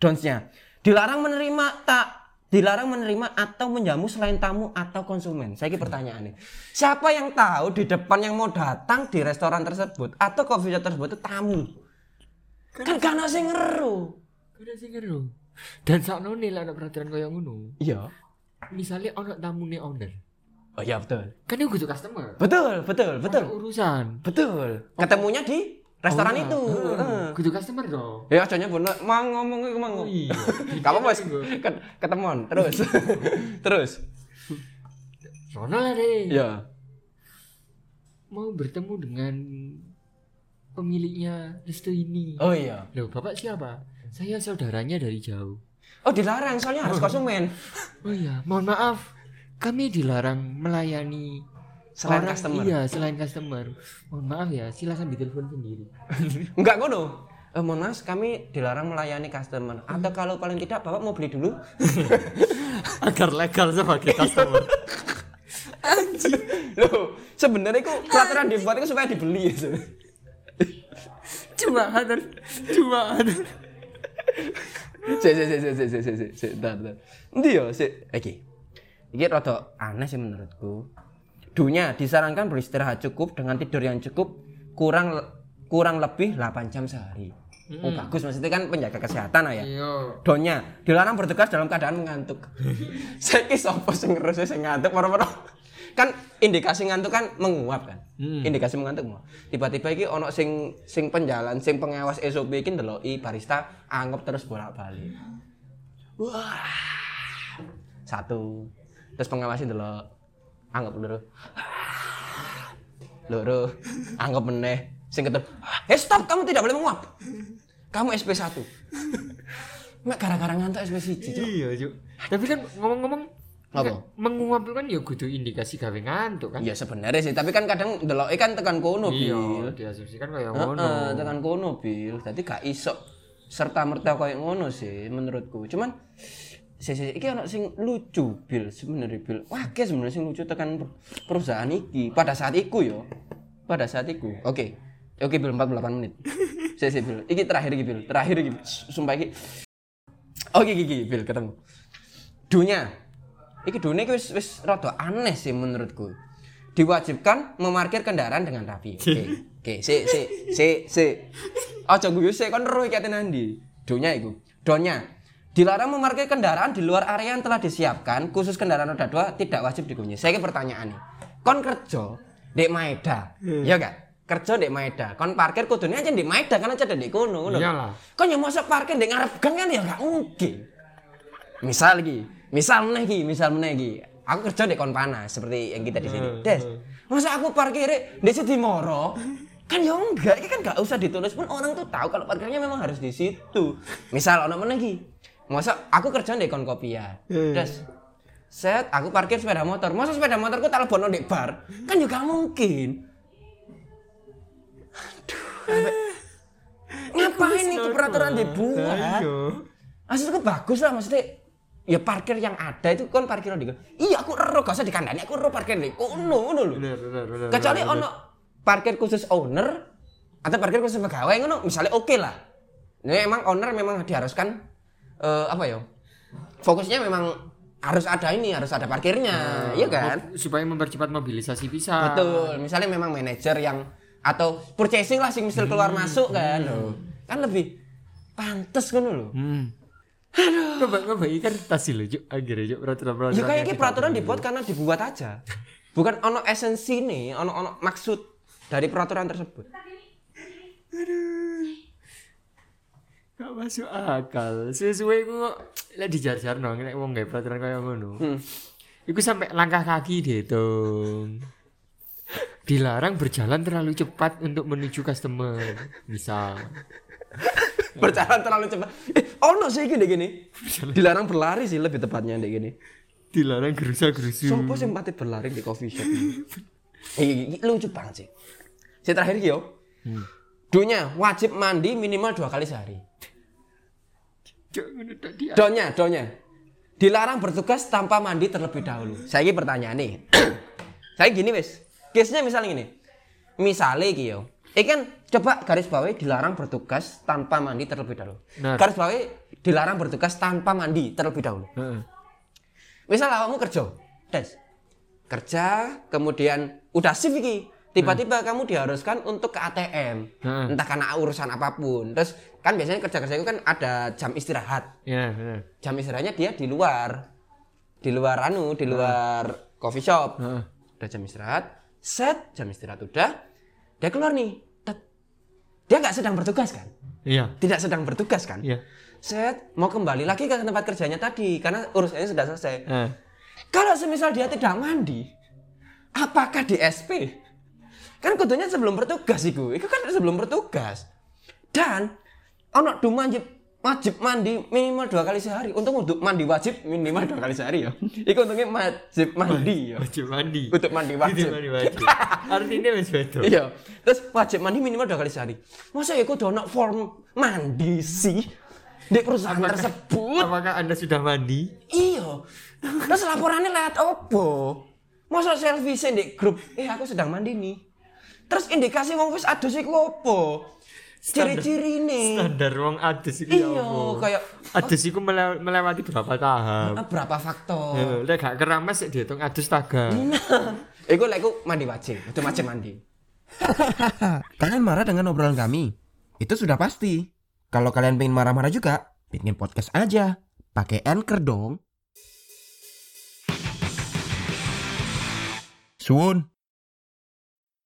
[SPEAKER 3] Don'ts-nya, dilarang menerima tak dilarang menerima atau menjamu selain tamu atau konsumen. Saya ini pertanyaan nih. Siapa yang tahu di depan yang mau datang di restoran tersebut atau coffee shop tersebut itu tamu? Kan kan ono sing ngeru.
[SPEAKER 4] Kudu sing ngeru. Dan sakno nilai ana peraturan koyo ngono.
[SPEAKER 3] Iya.
[SPEAKER 4] Misalnya ono tamune owner.
[SPEAKER 3] Oh iya betul.
[SPEAKER 4] Kan itu kudu customer.
[SPEAKER 3] Betul, betul, betul.
[SPEAKER 4] Ada urusan.
[SPEAKER 3] Betul. Ketemunya di restoran
[SPEAKER 4] Owner.
[SPEAKER 3] itu.
[SPEAKER 4] Heeh.
[SPEAKER 3] Heeh.
[SPEAKER 4] Kudu customer dong.
[SPEAKER 3] Ya aja bener, mau ngomong iku mau. ngomong.
[SPEAKER 4] Iya.
[SPEAKER 3] Gak apa bos, Ket- ketemuan terus, iya. terus.
[SPEAKER 4] Sono lah deh.
[SPEAKER 3] Ya.
[SPEAKER 4] Mau bertemu dengan pemiliknya resto ini.
[SPEAKER 3] Oh iya.
[SPEAKER 4] Loh, Bapak siapa? Saya saudaranya dari jauh.
[SPEAKER 3] Oh dilarang soalnya harus konsumen.
[SPEAKER 4] Oh iya, mohon maaf. Kami dilarang melayani
[SPEAKER 3] Selain customer.
[SPEAKER 4] Iya, selain customer. Mohon maaf ya, silakan ditelepon sendiri.
[SPEAKER 3] Enggak ngono. Eh, mohon mas, kami dilarang melayani customer. Atau kalau paling tidak, bapak mau beli dulu.
[SPEAKER 4] Agar legal sebagai customer.
[SPEAKER 3] Loh, sebenarnya itu peraturan dibuat itu supaya dibeli. ya, sebenarnya.
[SPEAKER 4] cuma ada cuma ada.
[SPEAKER 3] Sik sik sik sik sik sik sik sik sik tar tar. Endi yo sik iki. Iki rada aneh sih menurutku. Dunia disarankan beristirahat cukup dengan tidur yang cukup kurang kurang lebih 8 jam sehari. Oh bagus maksudnya kan penjaga kesehatan ya.
[SPEAKER 4] Iya.
[SPEAKER 3] Donya dilarang bertugas dalam keadaan mengantuk. Saiki sapa sing ngerus sing ngantuk moro-moro. Kan indikasi ngantuk kan menguap kan. Indikasi mengantuk mau. Tiba-tiba iki ono sing sing penjalan, sing pengawas SOP iki ndeloki barista anggap terus bolak-balik. Wah. Satu. Terus pengawas ndelok anggap loro. Loro anggap meneh sing ketemu. Eh stop, kamu tidak boleh menguap. Kamu SP1. Mak gara-gara ngantuk SP1. Cuk.
[SPEAKER 4] Iya, Cuk. Tapi kan ngomong-ngomong
[SPEAKER 3] Apa?
[SPEAKER 4] kan Menguap itu kan ya kudu indikasi gawe ngantuk kan.
[SPEAKER 3] Ya sebenarnya sih, tapi kan kadang delok kan tekan kono bil.
[SPEAKER 4] Iya, diasumsikan kayak ngono.
[SPEAKER 3] Heeh, tekan kono bil. Dadi gak iso serta merta koyo ngono sih menurutku. Cuman sih sih iki ono sing lucu bil sebenarnya bil. Wah, guys sebenarnya sing lucu tekan per- perusahaan iki pada saat iku yo. Pada saat iku. Oke. Oke bil 48 menit. Sih sih bil. Iki terakhir iki bil. Terakhir iki. Sumpah iki. Oke Oh, iki, iki bil ketemu. dunia iki dunia iki wis wis rada aneh sih menurutku diwajibkan memarkir kendaraan dengan rapi oke oke si si si si aja guyu sik kon ero iki atene ndi dunia iku donya dilarang memarkir kendaraan di luar area yang telah disiapkan khusus kendaraan roda dua tidak wajib dikunci saya pertanyaan nih kon kerja dek Maeda ya gak kerja dek Maeda kon parkir kudunya aja dek Maeda kan aja dek kono ngono.
[SPEAKER 4] Iyalah.
[SPEAKER 3] kon yang mosok parkir dek ngarep gang kan ya gak mungkin misal lagi misal meneh ki misal meneh ki aku kerja di kon panas seperti yang kita di sini des masa aku parkir di situ moro kan ya enggak ini kan enggak usah ditulis pun orang tuh tahu kalau parkirnya memang harus di situ misal ono meneh ki masa aku kerja di kon kopi ya des set aku parkir sepeda motor masa sepeda motorku tak lebono di bar kan juga mungkin aduh ampe- ngapain itu peraturan
[SPEAKER 4] Nah,
[SPEAKER 3] dibuat
[SPEAKER 4] iya.
[SPEAKER 3] Maksudku bagus lah maksudnya ya parkir yang ada itu kan parkir di iya aku ero gak usah dikandani aku ero parkir di kono ngono lho
[SPEAKER 4] Bener, bener, bener. Iya
[SPEAKER 3] kecuali ono parkir khusus owner atau parkir khusus pegawai ngono misalnya oke lah ini emang owner memang diharuskan eh, apa ya fokusnya memang harus ada ini harus ada parkirnya iya kan
[SPEAKER 4] supaya mempercepat mobilisasi bisa.
[SPEAKER 3] Betul. Misalnya memang manajer yang atau purchasing lah sing mesti keluar masuk kan. Loh. Kan lebih pantes kan lho.
[SPEAKER 4] Hmm. Aduh. Coba coba ini kertas sih lucu akhirnya Cuk, peraturan-peraturan.
[SPEAKER 3] Ya kayak
[SPEAKER 4] yang
[SPEAKER 3] ini
[SPEAKER 4] kita
[SPEAKER 3] peraturan
[SPEAKER 4] buat.
[SPEAKER 3] dibuat karena dibuat aja. Bukan ono esensi nih, ono ono maksud dari peraturan tersebut.
[SPEAKER 4] Gak masuk akal. Sesuai ku kok lek dijar-jar nang nek wong gawe peraturan kaya ngono.
[SPEAKER 3] Hmm.
[SPEAKER 4] Iku sampai langkah kaki dihitung. Dilarang berjalan terlalu cepat untuk menuju customer. Misal,
[SPEAKER 3] Berjalan terlalu cepat. Eh, ono sih gini gini. Dilarang berlari sih lebih tepatnya kayak gini.
[SPEAKER 4] dilarang gerusa-gerusu.
[SPEAKER 3] Sopo sing pati berlari di coffee shop. Iki iki lucu banget sih. Saya terakhir iki yo. Donya wajib mandi minimal dua kali sehari.
[SPEAKER 4] Cuk, ngono tok dia.
[SPEAKER 3] Donya, donya. Dilarang bertugas tanpa mandi terlebih dahulu. Saya ini pertanyaan nih. Saya gini wes. Case-nya misalnya gini. Misalnya iki yo. Iki kan coba garis bawah dilarang bertugas tanpa mandi terlebih dahulu.
[SPEAKER 4] Benar.
[SPEAKER 3] Garis bawah dilarang bertugas tanpa mandi terlebih dahulu.
[SPEAKER 4] Heeh.
[SPEAKER 3] Misal kamu kerja, Des. Kerja, kemudian udah shift iki. Tiba-tiba kamu diharuskan untuk ke ATM.
[SPEAKER 4] Hmm.
[SPEAKER 3] Entah karena urusan apapun. Terus kan biasanya kerja-kerja itu kan ada jam istirahat.
[SPEAKER 4] Ya, benar.
[SPEAKER 3] Jam istirahatnya dia di luar. Di luar anu, di luar coffee shop.
[SPEAKER 4] Heeh.
[SPEAKER 3] Udah jam istirahat, set jam istirahat udah. Dia keluar nih. Tet. Dia nggak sedang bertugas kan?
[SPEAKER 4] Iya.
[SPEAKER 3] Tidak sedang bertugas kan?
[SPEAKER 4] Iya.
[SPEAKER 3] Set mau kembali lagi ke tempat kerjanya tadi karena urusannya sudah selesai.
[SPEAKER 4] Heeh.
[SPEAKER 3] Kalau semisal dia tidak mandi, apakah di SP? Kan kudunya sebelum bertugas iku. Iku kan sebelum bertugas. Dan ono du wajib wajib mandi minimal dua kali sehari. Untung untuk mandi wajib minimal dua kali sehari ya. Iku untungnya wajib mandi ya.
[SPEAKER 4] Wajib mandi.
[SPEAKER 3] Untuk mandi
[SPEAKER 4] Wajib
[SPEAKER 3] wajib.
[SPEAKER 4] mandi wajib. Artinya wis beda.
[SPEAKER 3] Iya. Terus wajib mandi minimal dua kali sehari. Masa ya kudu ono form mandi sih di perusahaan tersebut?
[SPEAKER 4] Apakah Anda sudah mandi?
[SPEAKER 3] Iya. Terus laporannya lewat opo? Masa selfie sih di grup, eh aku sedang mandi nih. Terus indikasi wong wis adus iku opo? Ciri-ciri nih.
[SPEAKER 4] Standar wong adus iku ya
[SPEAKER 3] Iya,
[SPEAKER 4] apa?
[SPEAKER 3] kayak
[SPEAKER 4] adus iku mele- melewati berapa tahap?
[SPEAKER 3] ah, berapa faktor?
[SPEAKER 4] Heeh, lek gak keramas sik dihitung adus taga.
[SPEAKER 3] Iku lek iku mandi wajib, itu wajib mandi.
[SPEAKER 2] kalian marah dengan obrolan kami? Itu sudah pasti. Kalau kalian pengen marah-marah juga, bikin podcast aja. Pakai Anchor dong. Suun.